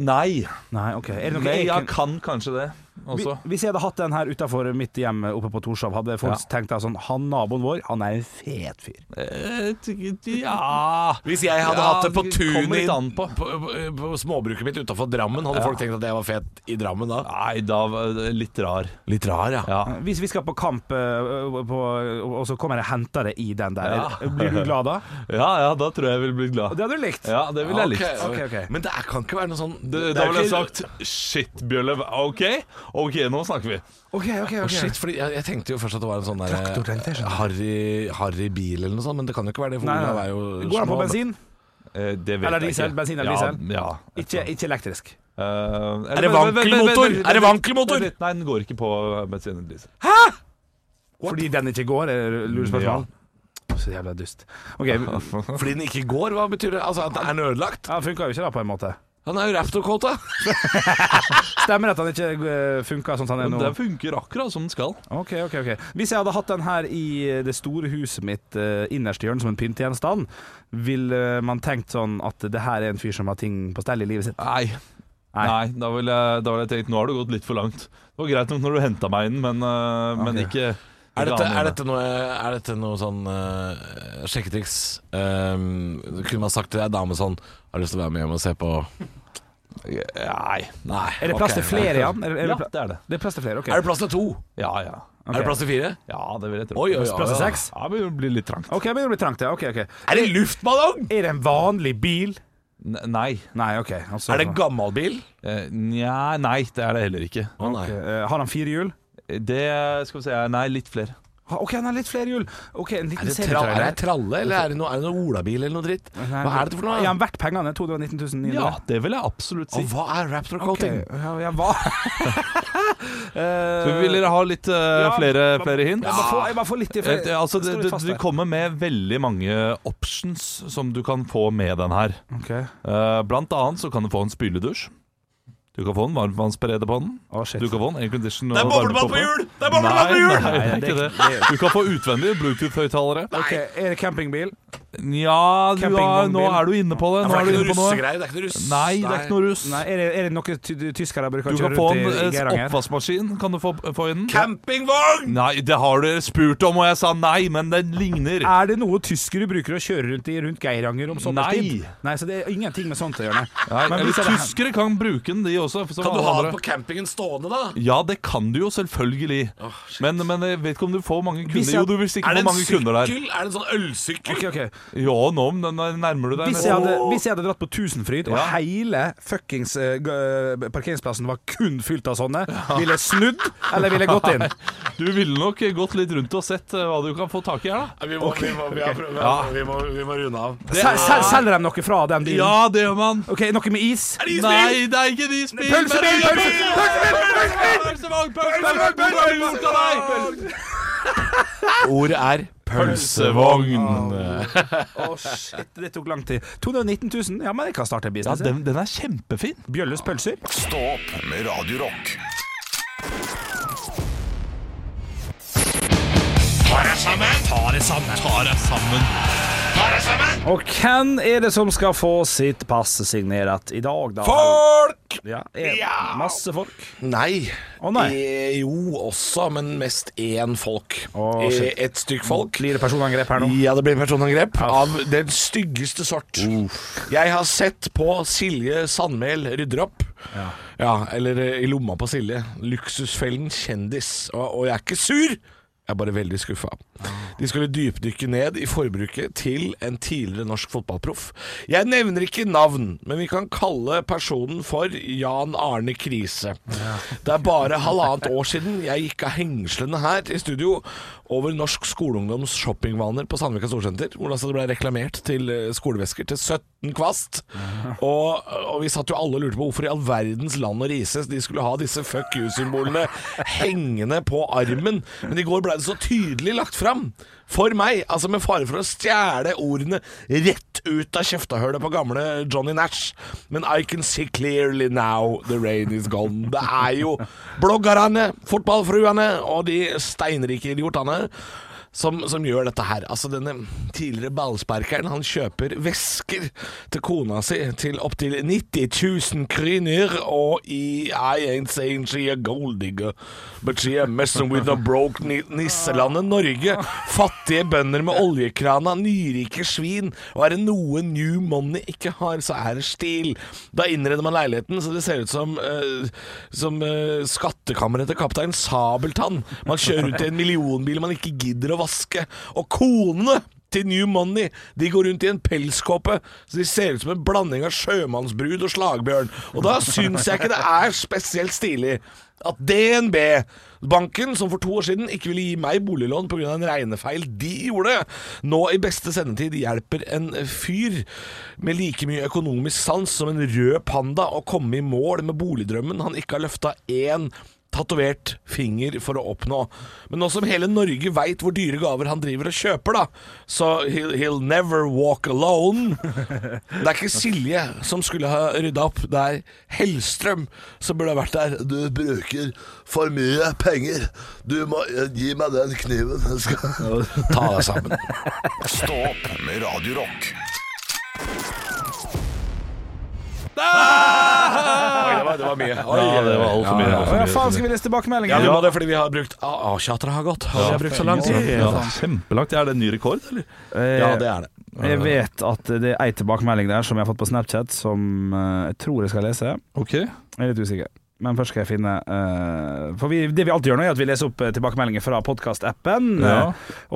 Speaker 4: Nei.
Speaker 5: Nei, ok. Er det noe
Speaker 4: Nei,
Speaker 5: jeg
Speaker 4: jeg
Speaker 5: kan...
Speaker 4: kan kanskje det også.
Speaker 5: Hvi- Hvis jeg hadde hatt den her utafor mitt hjem oppe på Torshov, hadde folk tenkt da sånn Han naboen vår, han er en fet fyr.
Speaker 4: Eh, t- t- Ja
Speaker 3: Hvis jeg hadde
Speaker 4: Ja,
Speaker 3: hatt det på
Speaker 4: det kommer
Speaker 3: tunet i-
Speaker 4: litt an på.
Speaker 3: på, på, på småbruket mitt utafor Drammen, hadde folk tenkt at jeg var fet i Drammen da?
Speaker 4: Nei, da var det litt rar.
Speaker 3: Litt rar, ja.
Speaker 4: Ja.
Speaker 5: Hvis vi skal på kamp, øh, på, og så kommer jeg og henter det i den der, eh,
Speaker 4: Ja.
Speaker 5: blir du glad da?
Speaker 4: ja, ja, da tror jeg jeg ville blitt glad.
Speaker 5: Det hadde du likt.
Speaker 4: Ja, det ville jeg likt.
Speaker 3: Ok,
Speaker 5: Ok, ok.
Speaker 3: Men det er, kan ikke være noe sånn
Speaker 4: Det,
Speaker 3: det er
Speaker 4: da
Speaker 3: jo
Speaker 4: ville jeg
Speaker 3: ikke-
Speaker 4: sagt Shit, Bjørle. OK, ok, nå snakker vi.
Speaker 5: OK, OK.
Speaker 3: Å,
Speaker 5: ok
Speaker 3: Shit, fordi jeg, jeg tenkte jo først at det var en sånn
Speaker 5: Traktor, tenkte
Speaker 3: der
Speaker 5: jeg, skjønner du.
Speaker 3: harry, harry bil eller noe sånt, men det kan jo ikke være det. For
Speaker 5: Nei,
Speaker 3: Olav
Speaker 5: nei.
Speaker 3: er jo
Speaker 5: Går han på
Speaker 3: små.
Speaker 5: bensin?
Speaker 4: Eh, det vet
Speaker 5: Eller
Speaker 4: jeg
Speaker 5: diesel,
Speaker 4: ikke.
Speaker 5: bensin eller
Speaker 4: ja,
Speaker 5: diesel?
Speaker 4: Ja.
Speaker 5: Ikke, ikke elektrisk.
Speaker 4: Eh,
Speaker 3: Er det
Speaker 4: vent, vent, vent, vent,
Speaker 3: vankelmotor?
Speaker 4: vent,
Speaker 3: Er det
Speaker 4: vent,
Speaker 3: vankelmotor?
Speaker 4: vent, Nei, den går ikke på eh, bensin eller diesel.
Speaker 5: Fordi den ikke går, er lurespørsmål? Så jævla dust. OK. Ja,
Speaker 3: Fordi den ikke går, hva betyr det? Altså at den er ødelagt?
Speaker 5: funka jo ikke da, på en måte.
Speaker 3: Han er jo raptor-kåta.
Speaker 5: Stemmer det at han ikke øh, funka sånn som han er
Speaker 4: Men
Speaker 5: nå?
Speaker 4: den funker akkurat som den skal.
Speaker 5: Ok, ok, ok Hvis jeg hadde hatt den her i eh, det store huset mitt eh, innerste hjørne som en pyntegjenstand, ville man tenkt sånn at det her er en fyr som har ting på stell i livet sitt?
Speaker 4: Nei. Nei, da ville jeg, da vil jeg tenkt Nå har du gått litt for langt. Det var greit nok når du henta meg inn, men, eh, men ikke
Speaker 3: Er
Speaker 4: ikke
Speaker 3: dette,
Speaker 4: annet enn
Speaker 3: er
Speaker 4: det.
Speaker 3: dette, noe, er dette noe sånn eh, sjekketriks? Ehm, kunne man sagt til ei dame sånn Har du lyst til å være med hjem og se på
Speaker 4: Nei.
Speaker 3: Nei.
Speaker 5: Er det plass
Speaker 3: ok,
Speaker 5: til flere,
Speaker 3: nei.
Speaker 5: Jan? Er, er
Speaker 4: Ja,
Speaker 5: det, pla-
Speaker 4: det er det.
Speaker 5: det er plass til flere, ok.
Speaker 3: Er det plass til to?
Speaker 4: Ja, ja.
Speaker 3: Er det plass til fire?
Speaker 4: Ja, det vil jeg tro.
Speaker 3: Oi, oi, oi.
Speaker 5: plass til
Speaker 3: oi.
Speaker 5: seks?
Speaker 4: Ja, det begynner å bli litt trangt.
Speaker 5: Ah. Ok, men det blir trangt, ja. Ok, ok.
Speaker 3: Er det luftballong?
Speaker 5: Er det en vanlig bil?
Speaker 4: N- Nei.
Speaker 5: Nei, ok. Altså,
Speaker 3: Er det gammel bil?
Speaker 4: Eh, Nja, nei, det er det heller ikke.
Speaker 3: Å nei.
Speaker 5: Eh, Har han fire hjul?
Speaker 4: Det skal vi se her. Nei, litt flere.
Speaker 5: Ha, OK, han har litt flere hjul. Ok, en
Speaker 3: Er
Speaker 5: liten
Speaker 3: det, tra
Speaker 5: serietrailer.
Speaker 3: er det tralle, eller er det noe, er det noe olabil eller noe dritt? Hva er det for noe?
Speaker 5: Ja, verdt pengene. 219 900.
Speaker 4: Ja, det vil jeg absolutt si.
Speaker 3: Og hva er raptor
Speaker 5: Ok,
Speaker 3: coating?
Speaker 5: ja, ja, hva?
Speaker 4: Så vil dere ha litt eh, flere, flere hint?
Speaker 5: Jeg bare får, jeg bare får litt i
Speaker 4: Eh, det- Altså, det,
Speaker 5: Jeg står litt
Speaker 4: det,
Speaker 5: fast
Speaker 4: du
Speaker 5: der.
Speaker 4: kommer med veldig mange options som du kan få med den her.
Speaker 5: Ok.
Speaker 4: Eh, Blant annet så kan du få en spyledusj. Du kan få en varmtvannsbereder på den.
Speaker 5: Å, shit.
Speaker 4: Du kan få en aircondition
Speaker 3: Det er
Speaker 4: og
Speaker 3: boblebad på
Speaker 4: varmepumpe.
Speaker 3: hjul! Det er boblebad på hjul!
Speaker 4: Nei, nei, det er ikke det. Du kan få utvendige Bluetooth-høyttalere.
Speaker 5: Ok, Er det campingbil?
Speaker 4: Nja, du har- nå
Speaker 5: Campingvognbil.
Speaker 4: er du inne på det. Nå
Speaker 3: For det er
Speaker 4: er du inne
Speaker 3: ikke
Speaker 4: på
Speaker 3: noe
Speaker 4: noe.
Speaker 3: russegreier. Det er ikke noe russ.
Speaker 4: Nei, det er ikke noe russ.
Speaker 5: Nei, er det, er det noe ty tyskere
Speaker 4: Du
Speaker 5: bruker å
Speaker 4: kan
Speaker 5: kjøre
Speaker 4: få en
Speaker 5: rundt i, i
Speaker 4: eh,
Speaker 5: Geiranger?
Speaker 4: oppvaskmaskin. Kan du få, få i den?
Speaker 3: Campingvogn!
Speaker 4: Nei, det har dere spurt om, og jeg sa nei, men den ligner.
Speaker 5: Er det noe tyskere bruker å kjøre rundt i rundt Geiranger om sommerstid?
Speaker 4: Nei.
Speaker 5: Nei, så det er ingenting med sånt å gjøre. nei.
Speaker 4: Nei,
Speaker 5: Men
Speaker 4: eller
Speaker 5: hvis det er-
Speaker 4: tyskere kan bruke den, de også. som
Speaker 3: Kan du
Speaker 4: alle
Speaker 3: ha
Speaker 4: andre.
Speaker 3: den på campingen stående, da?
Speaker 4: Ja, det kan du jo, selvfølgelig. men, men jeg vet ikke om du får mange kunder.
Speaker 5: jeg-
Speaker 4: Jo, du vil sikkert
Speaker 3: Er det en
Speaker 4: få mange
Speaker 3: sykkel?
Speaker 4: kunder
Speaker 3: Er
Speaker 4: der.
Speaker 3: det en sånn ølsykkel?
Speaker 5: Ok, ok.
Speaker 4: Jo, nå men den nærmer du deg.
Speaker 5: Hvis
Speaker 4: nesten.
Speaker 5: jeg hadde, hvis jeg hadde dratt på Tusenfryd, og
Speaker 4: Ja.
Speaker 5: hele fuckings eh, g- parkeringsplassen var kun fylt av sånne, ville jeg snudd, eller ville jeg gått inn?
Speaker 4: Du ville nok gått litt rundt og sett eh, hva du kan få tak i her, da.
Speaker 3: Nei, Vi må, vi, må, vi, har prøvd- vi, må, vi må runde av.
Speaker 5: Sel- sel- Selger de noe fra den bilen?
Speaker 4: Ja, det gjør man.
Speaker 5: Ok, noe med is?
Speaker 4: Nei, det er ikke de spill
Speaker 5: Pølsebil! Pølsebil! Pølsebil!
Speaker 4: Pølsevogn! Pølsevogn! Hvor har du gjort av deg?
Speaker 3: Ordet er
Speaker 4: Pølsevogn.
Speaker 5: Å, shit, det tok lang tid. 219 000? Ja, men jeg kan starte en
Speaker 4: Ja,
Speaker 5: business. jeg.
Speaker 4: den, den er kjempefin.
Speaker 5: Bjølles pølser?
Speaker 1: Stå opp med Radio Rock.
Speaker 5: Og hvem er det som skal få sitt pass signert i dag, da?
Speaker 3: Folk!
Speaker 5: Ja, er masse folk.
Speaker 3: Nei.
Speaker 5: Å, nei.
Speaker 3: Eh, jo, også, men mest én folk.
Speaker 5: Å, shit.
Speaker 3: Eh, Et stykk folk.
Speaker 5: Blir det personangrep her nå?
Speaker 3: Ja, det blir personangrep av den styggeste sort. Jeg har sett på Silje Sandmæl rydder opp. Ja. eller eh, i lomma på Silje. Luksusfellen kjendis. Og, og jeg er ikke sur. Jeg er bare veldig skuffa. De skulle dypdykke ned i forbruket til en tidligere norsk fotballproff. Jeg nevner ikke navn, men vi kan kalle personen for Jan Arne Krise. Det er bare halvannet år siden jeg gikk av hengslene her i studio over norsk skoleungdoms shoppingvaner på Sandvika Storsenter, hvor altså det ble reklamert til eh, skolevesker til 17 kvast. Og, og vi satt jo alle og lurte på hvorfor i all verdens land og rises de skulle ha disse fuck you-symbolene hengende på armen. Men i går ble det så tydelig lagt fram for meg, altså med fare for å stjele ordene rett ut av kjeftehølet på gamle Johnny Nash. Men I can see clearly now the rain is gone. Det er jo bloggerne, fotballfruene og de steinrike idiotene som, som gjør dette her. Altså Denne tidligere ballsparkeren Han kjøper vesker til kona si til opptil 90 000 kroner, og i I ain't saying she a gold digger, but she a messing with a broke ni nisselandet Norge. Fattige bønder med oljekrana, nyrike svin, og er det noe New Money ikke har, så er det stil. Da innreder man leiligheten så det ser ut som, eh, som eh, skattkammeret til kaptein Sabeltann. Man kjører rundt i en millionbil man ikke gidder å vaske. Og konene til New Money De går rundt i en pelskåpe, så de ser ut som en blanding av sjømannsbrud og slagbjørn. Og da syns jeg ikke det er spesielt stilig at DNB, banken som for to år siden ikke ville gi meg boliglån pga. en regnefeil de gjorde, nå i beste sendetid hjelper en fyr med like mye økonomisk sans som en rød panda å komme i mål med boligdrømmen han ikke har løfta én tatovert finger for å oppnå. Men nå som hele Norge veit hvor dyre gaver han driver og kjøper, da, så he'll, he'll never walk alone. Det er ikke Silje som skulle ha rydda opp, det er Hellstrøm som burde ha vært der.
Speaker 8: Du bruker for mye penger. Du må eh, gi meg den kniven. Jeg skal
Speaker 3: Ta deg sammen.
Speaker 1: Stå opp med Radio Rock.
Speaker 3: Oi, det var, det var mye. Oi,
Speaker 4: Ja, det var altfor mye.
Speaker 5: Å ja, faen, skal vi lese tilbakemeldinger?
Speaker 3: Ja, vi må det fordi vi har brukt AA-tjatere har gått. Og vi har brukt så lang tid.
Speaker 4: Ja, kjempelangt. Er det en ny rekord, eller?
Speaker 3: Ja, det er det.
Speaker 5: Eh, Jeg vet at det er ei tilbakemelding der som jeg har fått på Snapchat, som eh, jeg tror jeg skal lese.
Speaker 4: Ok.
Speaker 5: Jeg er litt usikker. Men først skal jeg finne eh, For vi, det vi alltid gjør nå, er at vi leser opp eh, tilbakemeldinger fra podkastappen.
Speaker 4: Ja.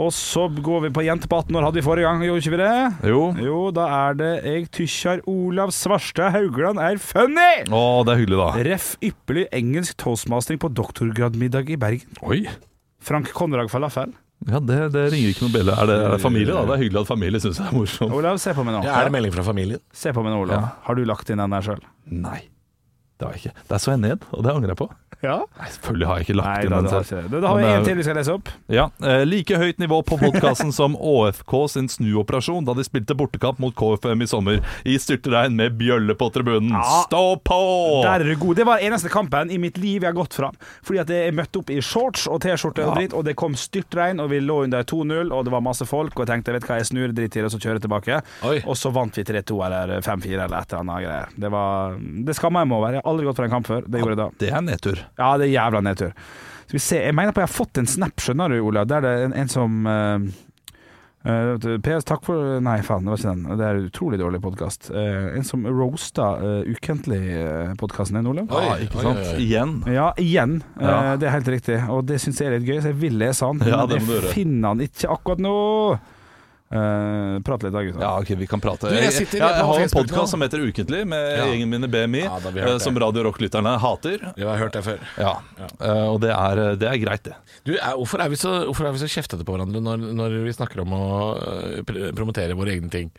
Speaker 5: Og så går vi på Jente på 18 år hadde vi forrige gang, gjorde ikke vi det?
Speaker 4: Jo.
Speaker 5: Jo, da er det jeg tykkjar Olav Svarstad Haugland er funny!
Speaker 4: Å, det er hyggelig, da.
Speaker 5: Ref ypperlig engelsk toastmastering på doktorgradmiddag i Bergen.
Speaker 4: Oi.
Speaker 5: Frank Konrad Falafel.
Speaker 4: Ja, det, det ringer ikke noen bjelle. Er det, er det familie, da? Det er hyggelig at familie syns det er morsomt.
Speaker 5: Olav, se på meg nå.
Speaker 3: Ja, er det melding fra familien?
Speaker 5: Se på meg nå, Olav.
Speaker 4: Ja.
Speaker 5: Har du lagt inn den der sjøl?
Speaker 4: Nei, det har jeg ikke. Der så jeg ned, og det angrer jeg på.
Speaker 5: Ja.
Speaker 4: Nei, selvfølgelig har jeg ikke
Speaker 5: Nei,
Speaker 4: lagt
Speaker 5: da,
Speaker 4: inn
Speaker 5: det
Speaker 4: den
Speaker 5: har
Speaker 4: selv.
Speaker 5: ikke det. Da har vi
Speaker 4: Men
Speaker 5: en
Speaker 4: det er-
Speaker 5: til vi skal lese opp.
Speaker 4: Ja, eh, Like høyt nivå på podkasten som ÅFK sin snuoperasjon da de spilte bortekamp mot KFM i sommer. I styrtregn med bjølle på tribunen. Stå på!
Speaker 5: Der er du god. Det var eneste kampen i mitt liv jeg har gått fra. Fordi at jeg møtte opp i shorts og T-skjorte og dritt, og det kom styrtregn, og vi lå under 2-0, og det var masse folk, og jeg tenkte vet du hva, jeg snur dritt til, og så kjører jeg tilbake.
Speaker 3: Oi.
Speaker 5: Og så vant vi 3-2 eller 5-4 eller et eller annet greier. Det, var, det skammer jeg meg over. Jeg har aldri gått for en kamp før. Det gjorde jeg da.
Speaker 4: Det er nedtur.
Speaker 5: Ja, det er jævla nedtur. Skal vi se, jeg mener på jeg har fått en snap, skjønner du, Olav. Der det er en, en som eh, eh, PS, takk for Nei, faen, det var ikke den. Det er en utrolig dårlig podkast. en som roasta uh, Ukentlig-podkasten din, Olav.
Speaker 4: ja, ikke sant?
Speaker 3: oi, oi.
Speaker 4: Igjen.
Speaker 5: Ja, igjen. Eh,
Speaker 4: Ja.
Speaker 5: det er helt riktig. Og det syns jeg er litt gøy, så jeg vil lese han.
Speaker 4: Ja, det
Speaker 5: men
Speaker 4: må du
Speaker 5: jeg
Speaker 4: gjøre.
Speaker 5: finner han ikke akkurat nå. Eh, prat litt da, gutta.
Speaker 4: Ja, ok, vi kan prate.
Speaker 3: Du,
Speaker 4: jeg,
Speaker 3: jeg sitter
Speaker 4: ja,
Speaker 3: på
Speaker 4: jeg har en
Speaker 3: Facebook nå.
Speaker 4: podkast som heter Ukentlig, med gjengen min i BMI,
Speaker 3: Ja, da har vi hørt
Speaker 4: eh, som
Speaker 3: det.
Speaker 4: Radio Rock-lytterne hater.
Speaker 3: Jeg har hørt det før.
Speaker 4: Ja, Eh, Og det er, det er greit, det.
Speaker 3: Du, er, hvorfor, er vi så, hvorfor er vi så kjeftete på hverandre når, når vi snakker om å øh, pr- promotere våre egne ting?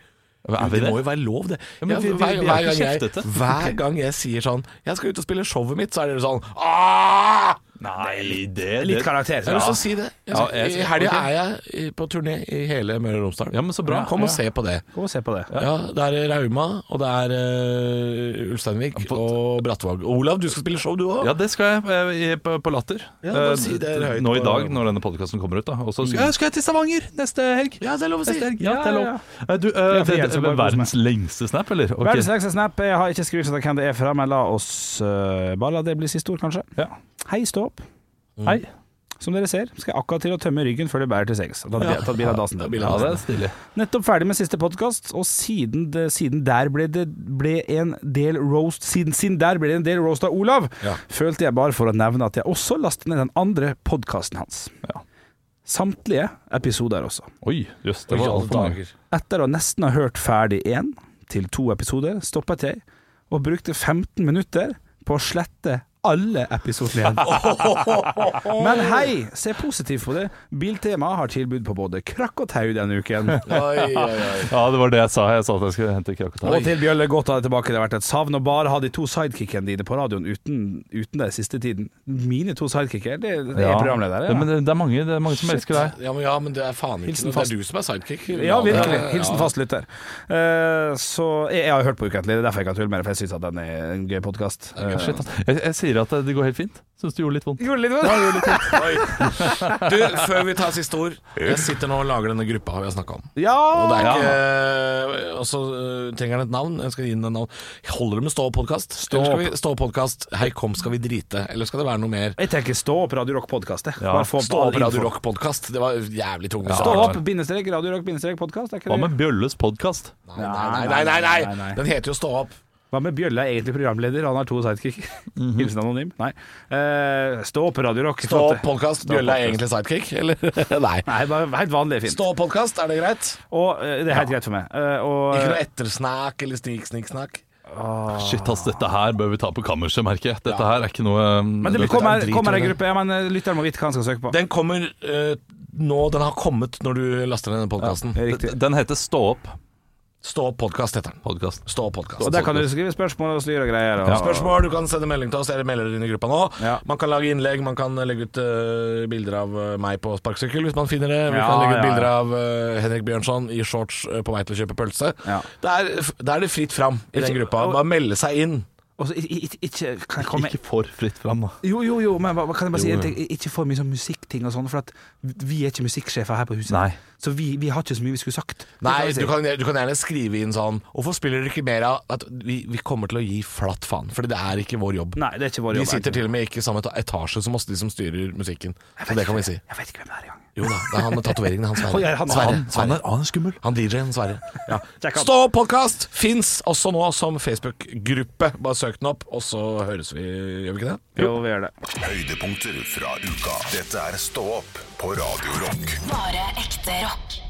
Speaker 4: Er vi
Speaker 3: det
Speaker 4: det?
Speaker 3: må jo være lov, det.
Speaker 4: Ja, men vi- vi- vi
Speaker 3: hver,
Speaker 4: er ikke
Speaker 3: gang jeg,
Speaker 4: kjeftete.
Speaker 3: hver gang jeg sier sånn 'Jeg skal ut og spille showet mitt', så er dere sånn Aah!
Speaker 4: Nei, det,
Speaker 5: Litt karakter.
Speaker 3: Jeg har lyst til å si det. Jeg
Speaker 4: Ja,
Speaker 3: skal,
Speaker 4: jeg-
Speaker 3: I helga
Speaker 4: ok.
Speaker 3: er jeg i- på turné i hele Møre og Romsdal.
Speaker 4: Ja, men så bra.
Speaker 3: Kom og
Speaker 4: Ja.
Speaker 3: se på det.
Speaker 5: Gå og se på det.
Speaker 3: Ja, Det er Rauma, og det er øh, Ulsteinvik
Speaker 4: Ja, på-
Speaker 3: og Brattvåg. Olav, du skal spille show, du òg.
Speaker 4: Ja, det skal jeg eh, i- på, på Latter.
Speaker 3: Ja, bare
Speaker 4: Eh,
Speaker 3: si det høyt
Speaker 4: Nå i
Speaker 3: på-
Speaker 4: dag, når denne podkasten kommer ut. da Og så skal, Ja, skal jeg til Stavanger neste helg.
Speaker 3: Ja, det er lov å si.
Speaker 4: Neste helg. Ja,
Speaker 5: Ja,
Speaker 4: det er
Speaker 5: ja,
Speaker 4: lov. Eh, Du, eh,
Speaker 5: for
Speaker 4: det,
Speaker 5: jeg
Speaker 4: det,
Speaker 5: skal bare kose
Speaker 4: verdens lengste snap, eller? Ok.
Speaker 5: Verdens lengste snap. Jeg har ikke skrevet hvem det er fra, men la oss eh, bare la det bli siste ord, kanskje.
Speaker 4: Ja. Mm.
Speaker 5: Hei, stå opp.
Speaker 4: Hei.
Speaker 5: Som dere ser, skal jeg akkurat til å tømme ryggen før det bærer til sengs. Da hadde tatt bil av dassen.
Speaker 4: Ja, det er stilig.
Speaker 5: Nettopp ferdig med siste podkast, og siden, det, siden der ble det ble en del roast Siden, siden der ble det en del roast av Olav,
Speaker 3: Ja.
Speaker 5: følte jeg bare for å nevne at jeg også lastet ned den andre podkasten hans.
Speaker 4: Ja.
Speaker 5: Samtlige episoder også.
Speaker 4: Oi, jøss. Det
Speaker 3: Oi,
Speaker 4: var
Speaker 3: alle
Speaker 4: altfor mange.
Speaker 3: dager.
Speaker 5: Etter å nesten ha hørt ferdig én til to episoder, stoppet jeg og brukte 15 minutter på å slette alle episodene igjen. Men hei, se positivt på det. Biltema har tilbud på både krakk og tau denne uken.
Speaker 3: Oi, oi, oi.
Speaker 4: Ja, det var det jeg sa. Jeg sa at jeg skulle hente
Speaker 5: Og
Speaker 4: Krakatau.
Speaker 5: til Bjølle, godt å ha deg tilbake. Det har vært et savn å bare ha de to sidekickene dine på radioen uten, uten deg siste tiden. Mine to sidekicker? Det, det er
Speaker 4: Ja.
Speaker 5: programledere.
Speaker 4: Ja,
Speaker 5: Ja.
Speaker 4: men det, det er mange, det er mange som elsker deg.
Speaker 3: Ja, men, ja, men det er faen ikke
Speaker 5: Hilsen
Speaker 3: noe.
Speaker 5: fast.
Speaker 3: Det er du som er sidekick.
Speaker 5: Ja, virkelig.
Speaker 3: ja.
Speaker 5: Hilsen fastlytter. Eh, så jeg, jeg har hørt på Ukentlig, det er derfor jeg kan tulle med det, for jeg syns at den er en gøy podkast.
Speaker 4: Shit, ass. jeg, jeg sier at det går helt fint. Syns det gjorde litt vondt.
Speaker 3: Du, før vi tar siste ord. Jeg sitter nå og lager denne gruppa vi har snakka om. Og, det er
Speaker 5: Ja!
Speaker 3: ikke, og så øh, trenger han et navn. Jeg skal gi den et navn. Holder det med Stå opp-podkast? Eller skal vi Stå opp-podkast Hei, kom, skal vi drite? Eller skal det være noe mer?
Speaker 5: Jeg tenker stå opp Radio Rock-podkast.
Speaker 4: Ja,
Speaker 3: Stå opp Radio Rock-podkast. Det var jævlig tungt.
Speaker 5: Stå opp, bindestrek, Radio Rock-podkast.
Speaker 4: Hva med Bjølles podkast?
Speaker 3: Nei, nei, nei, nei, nei, nei. Den heter jo Stå opp.
Speaker 5: Hva med Bjølle er egentlig programleder, han har to sidekick. Hilsen anonym. Nei. Eh, stå opp, Radio Rock.
Speaker 3: Mhm. Stå
Speaker 5: Flott.
Speaker 3: opp-podkast. Bjølle er egentlig sidekick, eller? Nei.
Speaker 5: Nei, bare helt vanlig fint.
Speaker 3: Stå opp-podkast, er det greit?
Speaker 5: Og eh, det er helt greit for meg. Eh, og,
Speaker 3: Ikke noe ettersnakk eller snik-snik-snakk?
Speaker 4: Shit, ass, dette her bør vi ta på kammerset, merker jeg. Dette her er ikke noe um,
Speaker 5: men det
Speaker 4: dette-
Speaker 5: kommer,
Speaker 3: drit
Speaker 5: kommer
Speaker 3: over
Speaker 5: en
Speaker 3: det.
Speaker 5: gruppe. Ja, men eh, Lytteren må vite hva han skal søke på.
Speaker 3: Den kommer eh, nå, den har kommet når du laster ned denne podkasten.
Speaker 5: Det er riktig.
Speaker 4: Den heter Stå opp
Speaker 3: Stå opp podkast heter den.
Speaker 4: podkast.
Speaker 3: Stå opp podcast. Altså,
Speaker 5: Og der kan du skrive spørsmål og styre og greier. Og,
Speaker 3: Spørsmål, du kan sende melding til oss, eller melder inn i gruppa nå.
Speaker 5: Ja.
Speaker 3: Man kan lage innlegg, man kan legge ut eh, bilder av eh, meg på sparkesykkel hvis man finner det. Vi
Speaker 5: Ja,
Speaker 3: kan legge ut
Speaker 5: ja, ja.
Speaker 3: bilder av eh, Henrik Bjørnson i shorts eh, på vei til å kjøpe pølse.
Speaker 5: Ja.
Speaker 3: Da er, da er det fritt fram i den gruppa. Bare melde seg inn.
Speaker 5: Og så i- i- i- ikke kan jeg komme
Speaker 4: Ikke for fritt fram, da.
Speaker 5: Jo, jo, jo, men hva- hva kan jeg bare si en ting? Ikke for mye sånn musikkting og sånn, for at vi er ikke musikksjefer her på huset.
Speaker 4: Nei.
Speaker 5: Så vi, vi har ikke så mye vi skulle sagt. Det
Speaker 3: Nei,
Speaker 5: vi si.
Speaker 3: du kan, du kan gjerne skrive inn sånn Hvorfor spiller dere ikke mer av at vi, vi kommer til å gi flatt faen? Fordi det er ikke vår jobb.
Speaker 5: Nei, det er ikke vår
Speaker 3: De
Speaker 5: jobb.
Speaker 3: sitter
Speaker 5: egentlig.
Speaker 3: til og med ikke i samme etasje som oss, de som styrer musikken. Så det kan vi si.
Speaker 5: Jeg vet ikke hvem det er engang.
Speaker 3: Jo da, det er han med tatoveringene, han
Speaker 5: Oi,
Speaker 3: Sverre.
Speaker 5: er han-
Speaker 3: Sverre.
Speaker 5: han-
Speaker 3: Sverre.
Speaker 4: er, skummel.
Speaker 3: Han DJ-en Sverre.
Speaker 5: sjekk han.
Speaker 3: Stå podkast fins også nå som Facebook-gruppe. Bare søk den opp, og så høres vi, gjør vi ikke det?
Speaker 5: Jo, vi gjør det.
Speaker 1: Høydepunkter fra uka. Dette er Stå opp på Radio Rock.
Speaker 2: Bare ekte rock.